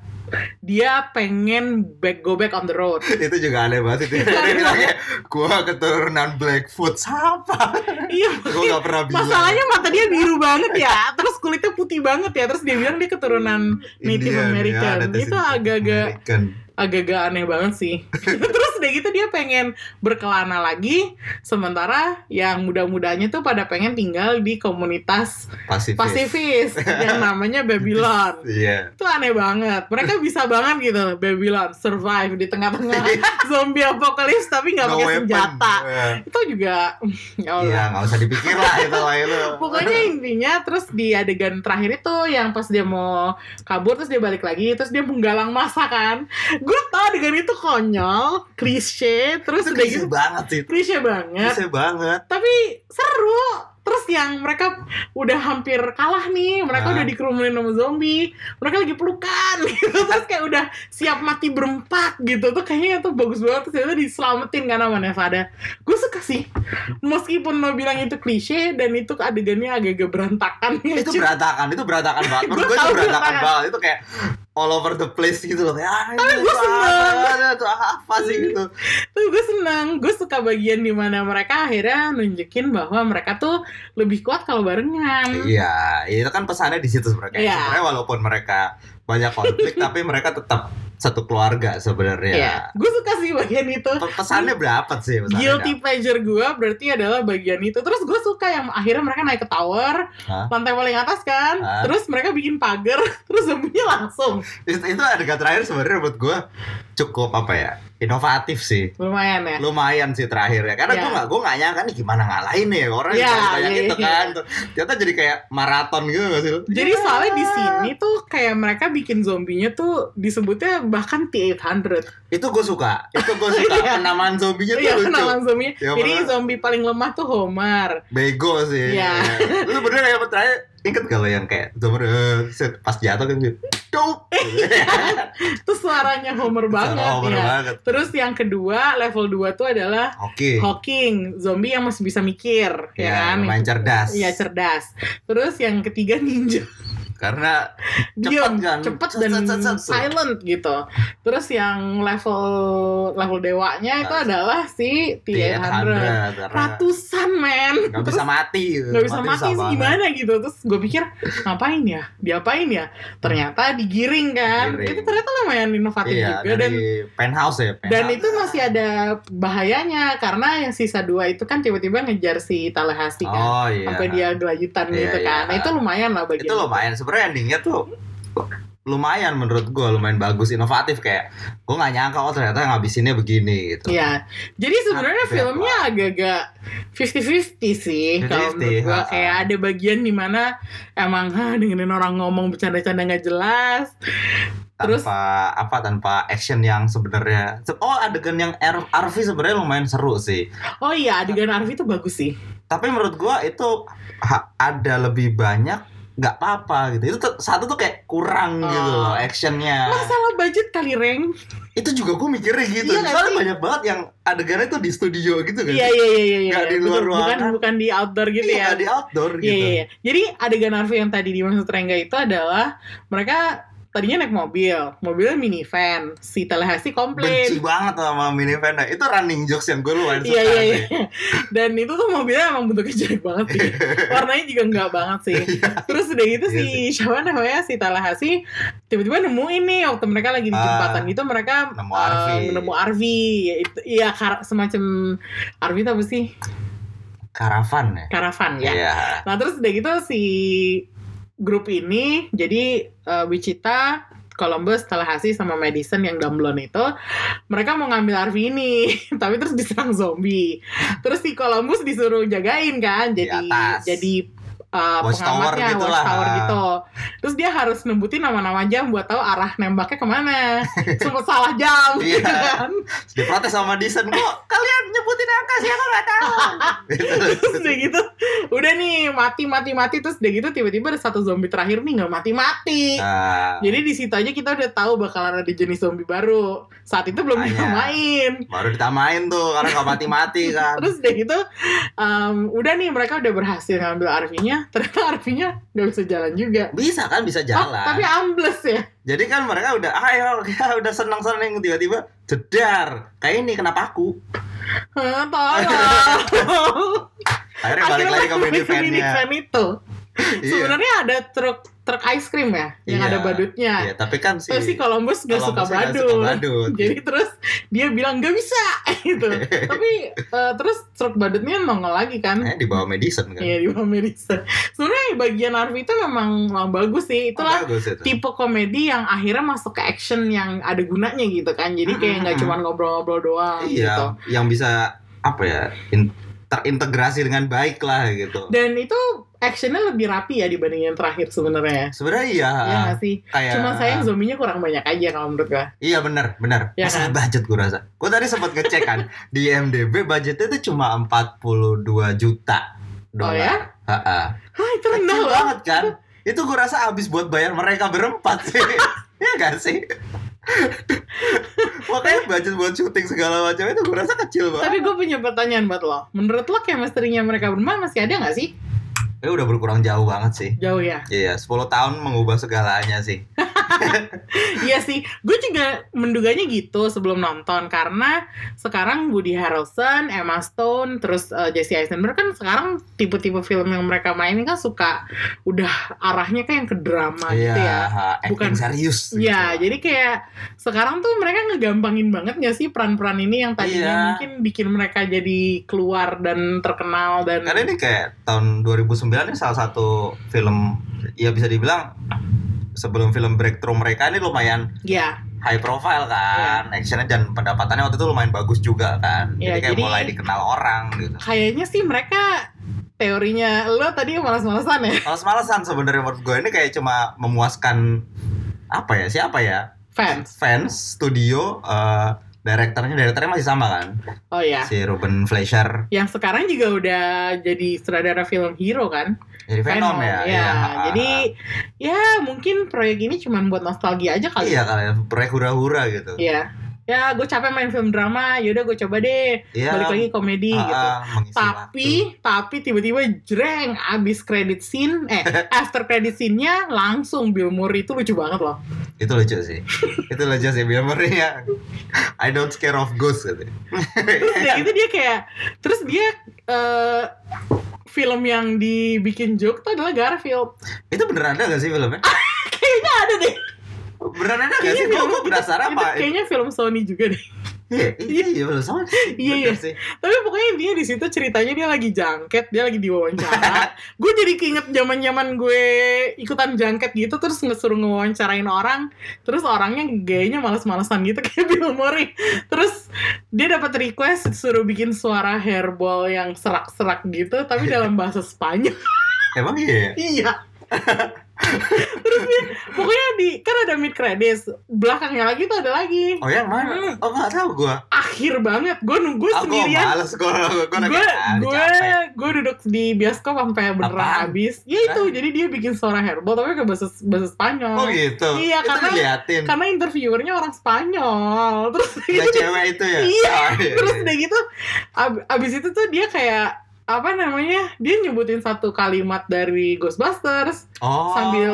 Speaker 2: dia pengen back go back on the road
Speaker 1: itu juga aneh banget itu. Dia bilang kayak gua keturunan Blackfoot. Siapa?
Speaker 2: iya
Speaker 1: Gua nggak pernah bilang.
Speaker 2: Masalahnya mata dia biru banget ya, terus kulitnya putih banget ya, terus dia bilang dia keturunan Native
Speaker 1: Indian, ya,
Speaker 2: American.
Speaker 1: ada
Speaker 2: Itu
Speaker 1: Native
Speaker 2: agak-agak-
Speaker 1: American.
Speaker 2: agak-agak aneh banget sih. terus udah gitu dia pengen berkelana lagi, sementara yang muda-mudanya tuh pada pengen tinggal di komunitas
Speaker 1: pasifis.
Speaker 2: pasifis yang namanya Babylon.
Speaker 1: Iya.
Speaker 2: Itu aneh banget. Mereka bisa banget gitu Babylon survive di tengah-tengah zombie apocalypse tapi nggak
Speaker 1: Iya. No
Speaker 2: pakai
Speaker 1: weapon.
Speaker 2: senjata.
Speaker 1: Iya.
Speaker 2: Itu juga ya Allah.
Speaker 1: Iya, nggak usah dipikir lah itu lah itu.
Speaker 2: Pokoknya intinya terus di adegan terakhir itu yang pas dia mau kabur terus dia balik lagi terus dia menggalang masa kan. Gue tau adegan itu konyol, klise, terus
Speaker 1: itu
Speaker 2: udah
Speaker 1: klise
Speaker 2: gitu
Speaker 1: banget sih. itu.
Speaker 2: klise banget.
Speaker 1: Klise banget.
Speaker 2: Tapi seru. Terus yang mereka udah hampir kalah nih, mereka
Speaker 1: Ah.
Speaker 2: udah dikerumunin sama zombie, mereka lagi pelukan gitu. Terus kayak udah siap mati berempat gitu. Tuh kayaknya tuh bagus banget terus itu diselamatin kan sama Nevada. Gue suka sih. Meskipun lo bilang itu klise dan itu adegannya agak-agak berantakan
Speaker 1: Itu
Speaker 2: gitu.
Speaker 1: berantakan, itu berantakan banget. Menurut gue
Speaker 2: Gua
Speaker 1: itu
Speaker 2: tahu
Speaker 1: berantakan
Speaker 2: berantakan.
Speaker 1: banget. Itu kayak all over the place gitu loh. Kayak, ah, Tapi
Speaker 2: gua seneng.
Speaker 1: Itu apa sih gitu.
Speaker 2: Tuh gue seneng, gue suka bagian dimana mereka akhirnya nunjukin bahwa mereka tuh lebih kuat kalau barengan.
Speaker 1: Iya, itu kan pesannya di situ sebenarnya.
Speaker 2: Iya.
Speaker 1: Sebenarnya walaupun mereka banyak konflik, tapi mereka tetap satu keluarga sebenarnya.
Speaker 2: Gue Iya. suka sih bagian itu.
Speaker 1: Pe- Pesannya berapa sih? Pesannya
Speaker 2: Guilty pleasure gue berarti adalah bagian itu. Terus gue suka yang akhirnya mereka naik ke tower,
Speaker 1: Hah?
Speaker 2: lantai paling atas kan.
Speaker 1: Hah?
Speaker 2: Terus mereka bikin pagar, terus zombinya langsung.
Speaker 1: berapa? Itu, itu adegan terakhir sebenarnya buat gue cukup apa ya? Inovatif sih.
Speaker 2: Lumayan ya.
Speaker 1: Lumayan sih terakhir ya. Karena
Speaker 2: Iya.
Speaker 1: gue gak gue nggak nyangka nih gimana ngalahin ya orang
Speaker 2: Iya,
Speaker 1: yang kayak
Speaker 2: iya,
Speaker 1: gitu
Speaker 2: iya.
Speaker 1: kan. Ternyata jadi kayak maraton gitu gak sih? lu?
Speaker 2: Jadi
Speaker 1: Iya.
Speaker 2: soalnya di sini tuh kayak mereka bikin zombinya tuh disebutnya bahkan T800.
Speaker 1: itu gue suka. Itu gue suka
Speaker 2: Iya.
Speaker 1: penamaan zombinya tuh
Speaker 2: Iya,
Speaker 1: lucu.
Speaker 2: kenalan zombinya.
Speaker 1: Ya,
Speaker 2: Jadi
Speaker 1: padahal-
Speaker 2: zombie paling lemah tuh Homer.
Speaker 1: Bego sih.
Speaker 2: Iya.
Speaker 1: Lu bener yang terakhir inget gak lo yang kayak Zomer eh, set, pas jatuh kan gitu. Dope.
Speaker 2: Terus suaranya Homer Iya, banget
Speaker 1: Sama Homer
Speaker 2: ya.
Speaker 1: oh, banget.
Speaker 2: Terus yang kedua, level 2 tuh adalah
Speaker 1: Oke.
Speaker 2: Hawking, zombie yang masih bisa mikir,
Speaker 1: Iya,
Speaker 2: ya, kan?
Speaker 1: main cerdas.
Speaker 2: Iya, cerdas. Terus yang ketiga ninja.
Speaker 1: Karena Cepet
Speaker 2: Diam,
Speaker 1: kan?
Speaker 2: cepet
Speaker 1: Cet,
Speaker 2: dan
Speaker 1: cet, cet, cet.
Speaker 2: silent gitu. Terus yang level level dewanya itu
Speaker 1: Nah,
Speaker 2: adalah si T-800.
Speaker 1: T800, karena
Speaker 2: Ratusan, men.
Speaker 1: Gak bisa mati.
Speaker 2: nggak bisa
Speaker 1: susah
Speaker 2: mati sih,
Speaker 1: banget.
Speaker 2: gimana gitu terus gue pikir ngapain ya diapain ya ternyata digiring kan
Speaker 1: Digiring.
Speaker 2: itu ternyata lumayan inovatif
Speaker 1: Iya,
Speaker 2: juga dan
Speaker 1: dari penthouse ya. Penthouse.
Speaker 2: dan itu masih ada bahayanya karena yang sisa dua itu kan tiba-tiba ngejar si Talahasi kan
Speaker 1: Oh iya.
Speaker 2: sampai dia gelayutan
Speaker 1: Iya,
Speaker 2: gitu kan
Speaker 1: iya.
Speaker 2: nah, itu lumayan lah bagian
Speaker 1: itu lumayan sebenarnya endingnya tuh lumayan menurut gue lumayan bagus inovatif kayak gue nggak nyangka oh ternyata ngabisinnya begini gitu
Speaker 2: Iya, jadi sebenarnya
Speaker 1: Ada,
Speaker 2: filmnya agak-agak 50-50 sih kalau
Speaker 1: 50-50,
Speaker 2: menurut gua
Speaker 1: ha.
Speaker 2: kayak ada bagian dimana emang ha dengerin orang ngomong bercanda-canda nggak jelas
Speaker 1: tanpa
Speaker 2: Terus-
Speaker 1: apa tanpa action yang sebenarnya Se- oh adegan yang R- RV sebenarnya lumayan seru sih
Speaker 2: oh iya adegan Arfi itu bagus sih
Speaker 1: tapi menurut gua itu ha- ada lebih banyak nggak apa-apa gitu itu tuh- satu tuh kayak kurang gitu
Speaker 2: Oh.
Speaker 1: loh actionnya
Speaker 2: masalah budget kali reng
Speaker 1: itu juga gua mikirnya gitu
Speaker 2: Iya nggak
Speaker 1: soalnya
Speaker 2: sih?
Speaker 1: banyak banget yang adegannya tuh di studio gitu kan
Speaker 2: iya iya iya iya iya
Speaker 1: Nggak di luar
Speaker 2: Betul, bukan
Speaker 1: ruangan.
Speaker 2: bukan di outdoor gitu
Speaker 1: Iya,
Speaker 2: ya
Speaker 1: di outdoor
Speaker 2: Iya,
Speaker 1: gitu
Speaker 2: iya, iya. Jadi adegan Arfi yang tadi dimaksud Rengga itu adalah mereka tadinya naik mobil, mobilnya minivan. Si Tallahassee
Speaker 1: benci
Speaker 2: komplain.
Speaker 1: banget sama minivan nah, itu running jokes yang gue luar
Speaker 2: Iya iya iya. Dan itu tuh mobilnya emang bentuknya jelek banget sih. Warnanya juga enggak banget sih. Terus udah gitu
Speaker 1: Iya
Speaker 2: si siapa namanya si Tallahassee tiba-tiba nemuin nih waktu mereka lagi di
Speaker 1: Ah,
Speaker 2: jembatan gitu mereka
Speaker 1: nemu
Speaker 2: eh,
Speaker 1: RV.
Speaker 2: nemu RV. Ya, itu, iya kar- semacam RV itu apa sih?
Speaker 1: karavan ya
Speaker 2: Karavan ya.
Speaker 1: Iya.
Speaker 2: Nah terus udah gitu si grup ini jadi eh, Wichita, Columbus, Tallahassee sama Madison yang Dumblon itu mereka mau ngambil RV ini tapi terus diserang zombie. Terus si Columbus disuruh jagain kan jadi
Speaker 1: atas.
Speaker 2: jadi eh,
Speaker 1: Watchtower
Speaker 2: pengamatnya
Speaker 1: gitu lah.
Speaker 2: watchtower gitu. Terus dia harus nembutin nama-nama jam buat tahu arah nembaknya kemana. Sempet salah jam gitu
Speaker 1: Iya.
Speaker 2: kan.
Speaker 1: diprotes sama Dyson kok kalian nyebutin angka sih aku nggak tahu
Speaker 2: terus udah gitu udah nih mati mati mati terus udah gitu tiba-tiba ada satu zombie terakhir nih nggak mati mati
Speaker 1: Nah,
Speaker 2: jadi di situ aja kita udah tahu bakalan ada jenis zombie baru saat itu belum
Speaker 1: Makanya.
Speaker 2: dinamain
Speaker 1: baru ditamain tuh karena nggak mati-mati kan
Speaker 2: terus udah gitu em, udah nih mereka udah berhasil ngambil RV-nya ternyata RV-nya nggak bisa jalan juga
Speaker 1: bisa kan bisa
Speaker 2: Oh,
Speaker 1: jalan
Speaker 2: tapi ambles ya
Speaker 1: jadi kan mereka udah ayo ya, udah seneng-seneng tiba-tiba jedar kayak ini kenapa aku
Speaker 2: Hah, tolong
Speaker 1: akhirnya Eh, balik lagi ke minivannya
Speaker 2: minivan itu
Speaker 1: iya
Speaker 2: sebenarnya ada truk truk ice cream ya yang
Speaker 1: Iya.
Speaker 2: ada badutnya
Speaker 1: Iya, tapi kan si
Speaker 2: Tapi si Columbus gak suka
Speaker 1: Columbusnya nggak
Speaker 2: badut.
Speaker 1: suka badut.
Speaker 2: Jadi terus dia bilang gak bisa gitu. Tapi eh, terus truk badutnya nongol lagi kan.
Speaker 1: Eh, di bawah Madison kan
Speaker 2: Iya di bawah Madison. Sebenarnya bagian RV itu memang memang bagus sih. Itulah
Speaker 1: Oh, bagus itu
Speaker 2: tipe komedi yang akhirnya masuk ke action yang ada gunanya gitu kan. Jadi kayak nggak cuma ngobrol-ngobrol doang gitu.
Speaker 1: iya yang bisa apa ya in- terintegrasi dengan baik lah gitu
Speaker 2: Dan itu actionnya lebih rapi ya dibanding yang terakhir sebenarnya.
Speaker 1: sebenarnya iya
Speaker 2: Iya gak sih?
Speaker 1: kayak
Speaker 2: Cuma sayang zombinya kurang banyak aja kalau menurut gua.
Speaker 1: Iya benar, benar.
Speaker 2: Iya
Speaker 1: Masalah
Speaker 2: kan?
Speaker 1: budget gue rasa. Gue tadi sempat ngecek kan di IMDb budgetnya itu cuma 42 juta
Speaker 2: Oh
Speaker 1: dolar.
Speaker 2: ya?
Speaker 1: Ha-ha.
Speaker 2: Hah itu rendah
Speaker 1: Kecil
Speaker 2: loh.
Speaker 1: banget kan? Itu gue rasa abis buat bayar mereka berempat sih. Iya gak sih? Makanya budget buat syuting segala macam itu gue rasa kecil banget.
Speaker 2: Tapi gue punya pertanyaan buat lo. Menurut lo chemistry-nya mereka bermain masih ada nggak sih?
Speaker 1: Ya udah berkurang jauh banget sih.
Speaker 2: Jauh ya.
Speaker 1: Iya, 10 tahun mengubah segalanya sih.
Speaker 2: Iya sih. Gue juga menduganya gitu sebelum nonton karena sekarang Woody Harrelson, Emma Stone, terus uh, Jesse Eisenberg kan sekarang tipe-tipe film yang mereka mainin kan suka udah arahnya kan yang ke drama
Speaker 1: Iya,
Speaker 2: gitu ya.
Speaker 1: ha, acting
Speaker 2: Bukan-
Speaker 1: serius. gitu.
Speaker 2: Iya, jadi kayak sekarang tuh mereka ngegampangin banget gak sih peran-peran ini yang
Speaker 1: Iya.
Speaker 2: tadinya mungkin bikin mereka jadi keluar dan terkenal dan
Speaker 1: Karena ini kayak tahun 2009 ini salah satu film ya bisa dibilang sebelum film breakthrough mereka ini lumayan
Speaker 2: ya
Speaker 1: high profile kan, actionnya dan pendapatannya waktu itu lumayan bagus juga kan, jadi
Speaker 2: Iya,
Speaker 1: kayak
Speaker 2: jadi-
Speaker 1: mulai dikenal orang gitu.
Speaker 2: kayaknya sih mereka teorinya lo tadi malas-malasan ya.
Speaker 1: Males-malesan sebenarnya menurut gue ini kayak cuma memuaskan apa ya siapa ya
Speaker 2: fans.
Speaker 1: fans studio eh direkturnya direkturnya masih sama kan
Speaker 2: Oh ya,
Speaker 1: si Ruben Fleischer
Speaker 2: yang sekarang juga udah jadi sutradara film hero kan?
Speaker 1: jadi Venom, ya,
Speaker 2: ya.
Speaker 1: Iya.
Speaker 2: Jadi ya mungkin proyek ini cuma buat nostalgia aja kali.
Speaker 1: iya
Speaker 2: ya.
Speaker 1: kalian proyek hura-hura gitu
Speaker 2: Iya. Ya, gue capek main film drama, yaudah gue coba deh
Speaker 1: Iya,
Speaker 2: balik lagi komedi
Speaker 1: ah,
Speaker 2: gitu.
Speaker 1: ah, mengisi
Speaker 2: Tapi,
Speaker 1: waktu.
Speaker 2: tapi tiba-tiba jreng abis credit scene, eh after credit scene-nya langsung Bill Murray itu lucu banget loh.
Speaker 1: itu lucu sih itu lucu sih Bill Murray ya I don't scare of ghosts gitu
Speaker 2: terus dia itu dia kayak terus dia eh, film yang dibikin joke tuh adalah Garfield
Speaker 1: itu beneran ada gak sih filmnya
Speaker 2: kayaknya ada deh
Speaker 1: beneran ada gak
Speaker 2: Kayaknya
Speaker 1: sih gue
Speaker 2: film
Speaker 1: gue
Speaker 2: Iya, itu-
Speaker 1: penasaran
Speaker 2: itu
Speaker 1: apa
Speaker 2: kayaknya film Sony juga deh
Speaker 1: iya iya iya belum sama sih.
Speaker 2: Iya, iya.
Speaker 1: Bener sih.
Speaker 2: tapi pokoknya intinya di situ ceritanya dia lagi jangket dia lagi diwawancara gue jadi keinget zaman zaman gue ikutan jangket gitu terus ngesuruh ngewawancarain orang terus orangnya gayanya males-malesan gitu kayak Bill Murray terus dia dapat request suruh bikin suara hairball yang serak-serak gitu tapi dalam bahasa Spanyol
Speaker 1: emang iya
Speaker 2: Iya. Terus dia, pokoknya di kan ada mid credits, belakangnya lagi tuh ada lagi.
Speaker 1: oh yang mana oh gak tau gue
Speaker 2: Akhir banget, gue nunggu
Speaker 1: aku
Speaker 2: Hmm. sendirian.
Speaker 1: males gue gue
Speaker 2: Gue
Speaker 1: ah,
Speaker 2: gue gue duduk di bioskop sampai beneran
Speaker 1: Apaan?
Speaker 2: habis. Ya itu, jadi dia bikin suara hairball tapi ke bahasa bahasa Spanyol.
Speaker 1: oh gitu
Speaker 2: Iya,
Speaker 1: itu
Speaker 2: karena-
Speaker 1: diliatin
Speaker 2: Karena interviewernya orang Spanyol. Terus
Speaker 1: Yang cewek itu ya
Speaker 2: Iya,
Speaker 1: Oh,
Speaker 2: terus udah gitu ab- abis itu tuh dia kayak apa namanya dia nyebutin satu kalimat dari Ghostbusters
Speaker 1: Oh.
Speaker 2: sambil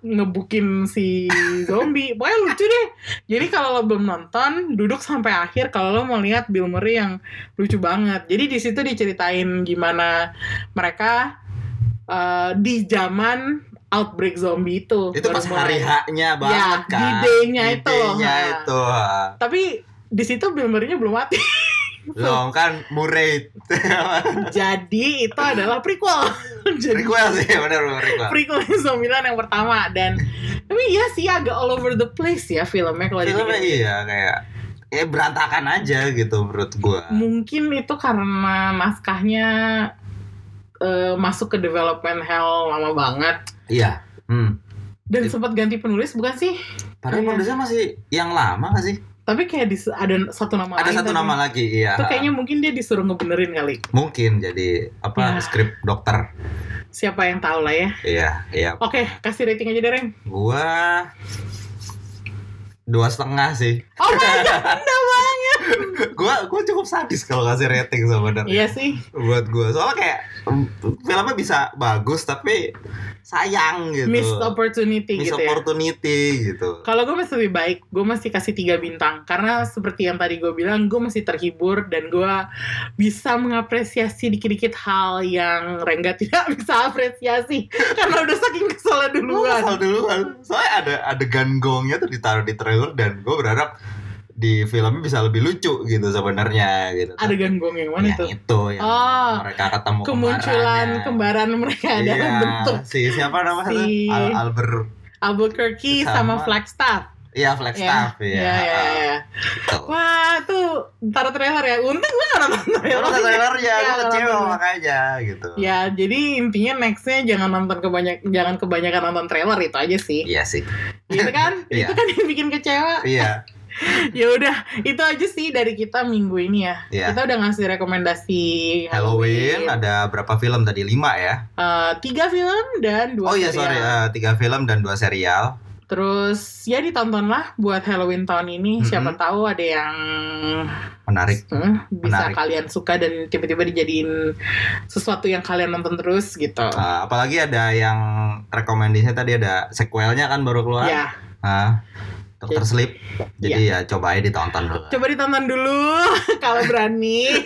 Speaker 2: ngebukin si zombie pokoknya lucu deh jadi kalau lo belum nonton duduk sampai akhir kalau lo mau lihat Bill Murray yang lucu banget jadi di situ diceritain gimana mereka eh, di zaman outbreak zombie itu
Speaker 1: itu
Speaker 2: baru
Speaker 1: pas
Speaker 2: mulai.
Speaker 1: hari haknya banget
Speaker 2: Ya,
Speaker 1: kan.
Speaker 2: D-Day-nya itu.
Speaker 1: D-Day-nya
Speaker 2: Ha.
Speaker 1: itu. ha.
Speaker 2: tapi di situ Bill Murray-nya belum mati
Speaker 1: Loh kan Murray
Speaker 2: jadi itu adalah prequel jadi
Speaker 1: prequel sih benar benar prequel.
Speaker 2: prequel Zombieland yang pertama dan tapi iya sih agak all over the place ya filmnya kalau
Speaker 1: Filmnya
Speaker 2: dipikir.
Speaker 1: iya kayak ya berantakan aja gitu menurut gua.
Speaker 2: mungkin itu karena naskahnya eh, masuk ke development hell lama banget
Speaker 1: Iya. Hmm.
Speaker 2: dan sempat ganti penulis bukan sih
Speaker 1: Padahal
Speaker 2: Iya.
Speaker 1: penulisnya masih yang lama gak sih?
Speaker 2: tapi kayak dis- ada satu nama
Speaker 1: Ada
Speaker 2: lain
Speaker 1: satu
Speaker 2: tapi-
Speaker 1: nama lagi, iya.
Speaker 2: itu kayaknya mungkin dia disuruh ngebenerin kali
Speaker 1: Mungkin jadi apa
Speaker 2: Ya.
Speaker 1: skrip dokter.
Speaker 2: siapa yang tahu lah ya
Speaker 1: Iya, iya.
Speaker 2: oke kasih rating aja deh Reng
Speaker 1: Gua dua setengah sih.
Speaker 2: oh my god
Speaker 1: Gua gua cukup sadis kalau kasih rating sebenarnya.
Speaker 2: iya sih
Speaker 1: Buat gua soalnya kayak mm, filmnya bisa bagus tapi sayang gitu.
Speaker 2: missed opportunity
Speaker 1: Miss
Speaker 2: gitu ya
Speaker 1: opportunity gitu.
Speaker 2: Kalau gue masih lebih baik, gue masih kasih tiga bintang karena seperti yang tadi gue bilang, gue masih terhibur dan gue bisa mengapresiasi dikit-dikit hal yang Rengga tidak bisa apresiasi karena udah saking keselnya
Speaker 1: Lu
Speaker 2: duluan.
Speaker 1: asal duluan. Soalnya ada adegan gongnya tuh ditaruh di trailer dan gue berharap di filmnya bisa lebih lucu gitu sebenarnya gitu.
Speaker 2: Ada gangguan yang mana
Speaker 1: yang
Speaker 2: itu?
Speaker 1: itu yang
Speaker 2: Oh,
Speaker 1: mereka ketemu
Speaker 2: kemunculan
Speaker 1: kembarannya.
Speaker 2: kembaran mereka
Speaker 1: Iya,
Speaker 2: dalam bentuk
Speaker 1: si siapa namanya
Speaker 2: si-
Speaker 1: tuh? Al Albert
Speaker 2: Albuquerque sama,
Speaker 1: Sama.
Speaker 2: Flagstaff.
Speaker 1: ya Flagstaff ya.
Speaker 2: Iya, iya, iya.
Speaker 1: Gitu.
Speaker 2: Wah, tuh ntar trailer ya. Untung gue gak nonton
Speaker 1: Gue nonton
Speaker 2: trailer.
Speaker 1: trailernya,
Speaker 2: Iya,
Speaker 1: gue kecewa
Speaker 2: nonton.
Speaker 1: makanya gitu.
Speaker 2: Ya, jadi intinya nextnya jangan nonton kebanyak, jangan kebanyakan nonton trailer itu aja sih.
Speaker 1: Iya sih.
Speaker 2: gitu kan
Speaker 1: Iya.
Speaker 2: itu kan yang bikin kecewa
Speaker 1: Iya,
Speaker 2: ya udah itu aja sih dari kita minggu ini ya
Speaker 1: iya.
Speaker 2: kita udah ngasih rekomendasi
Speaker 1: Halloween ada berapa film tadi? Lima ya?
Speaker 2: Eh, tiga film dan dua
Speaker 1: Oh iya
Speaker 2: serial.
Speaker 1: sorry, eh, tiga film dan dua serial.
Speaker 2: terus ya ditontonlah buat Halloween tahun
Speaker 1: Mhm.
Speaker 2: ini siapa tahu ada yang
Speaker 1: Menarik.
Speaker 2: hmm, bisa
Speaker 1: Menarik.
Speaker 2: kalian suka dan tiba-tiba dijadiin sesuatu yang kalian nonton terus gitu
Speaker 1: Eh, apalagi ada yang rekomendasinya tadi ada sequelnya kan baru keluar.
Speaker 2: ya
Speaker 1: Ah,
Speaker 2: Iya.
Speaker 1: Dokter Sleep. Jadi ya coba aja ditonton dulu.
Speaker 2: coba ditonton dulu kalau berani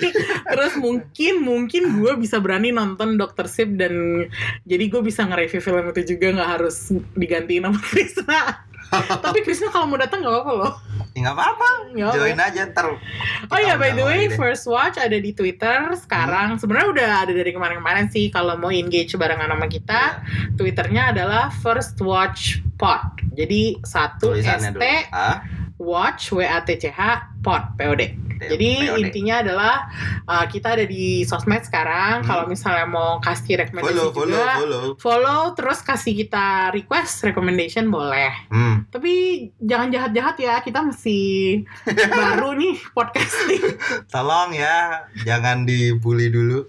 Speaker 2: terus mungkin mungkin gue bisa berani nonton Dr. Sip dan jadi gue bisa nge-review film itu juga nggak harus digantiin nama Krisna tapi Krisna kalau mau datang nggak apa-apa loh
Speaker 1: Ya, nggak apa-apa,
Speaker 2: Nggak apa-apa.
Speaker 1: join aja ntar.
Speaker 2: oh
Speaker 1: kita
Speaker 2: ya by the
Speaker 1: undang
Speaker 2: way
Speaker 1: lagi deh.
Speaker 2: First Watch ada di Twitter
Speaker 1: Hmm.
Speaker 2: sekarang sebenarnya udah ada dari kemarin-kemarin sih kalau mau engage barengan sama
Speaker 1: ya,
Speaker 2: kita
Speaker 1: Iya.
Speaker 2: Twitternya adalah First Watch Pod jadi satu
Speaker 1: tulisannya
Speaker 2: ST
Speaker 1: dulu. Ah,
Speaker 2: Watch W A T C H Pod P O D
Speaker 1: T-
Speaker 2: Jadi
Speaker 1: POD.
Speaker 2: intinya adalah uh, kita ada di sosmed
Speaker 1: Hmm.
Speaker 2: sekarang. Kalau misalnya mau kasih rekomendasi
Speaker 1: follow,
Speaker 2: juga,
Speaker 1: follow,
Speaker 2: follow,
Speaker 1: follow.
Speaker 2: terus kasih kita request recommendation boleh.
Speaker 1: Hmm.
Speaker 2: Tapi jangan jahat-jahat ya. Kita masih baru nih podcasting.
Speaker 1: Tolong ya, jangan dibully dulu.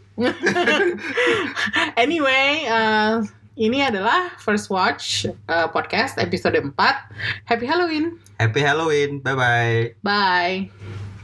Speaker 2: Anyway, uh, ini adalah First Watch uh, podcast episode 4. Happy Halloween.
Speaker 1: Happy Halloween, bye bye.
Speaker 2: Bye.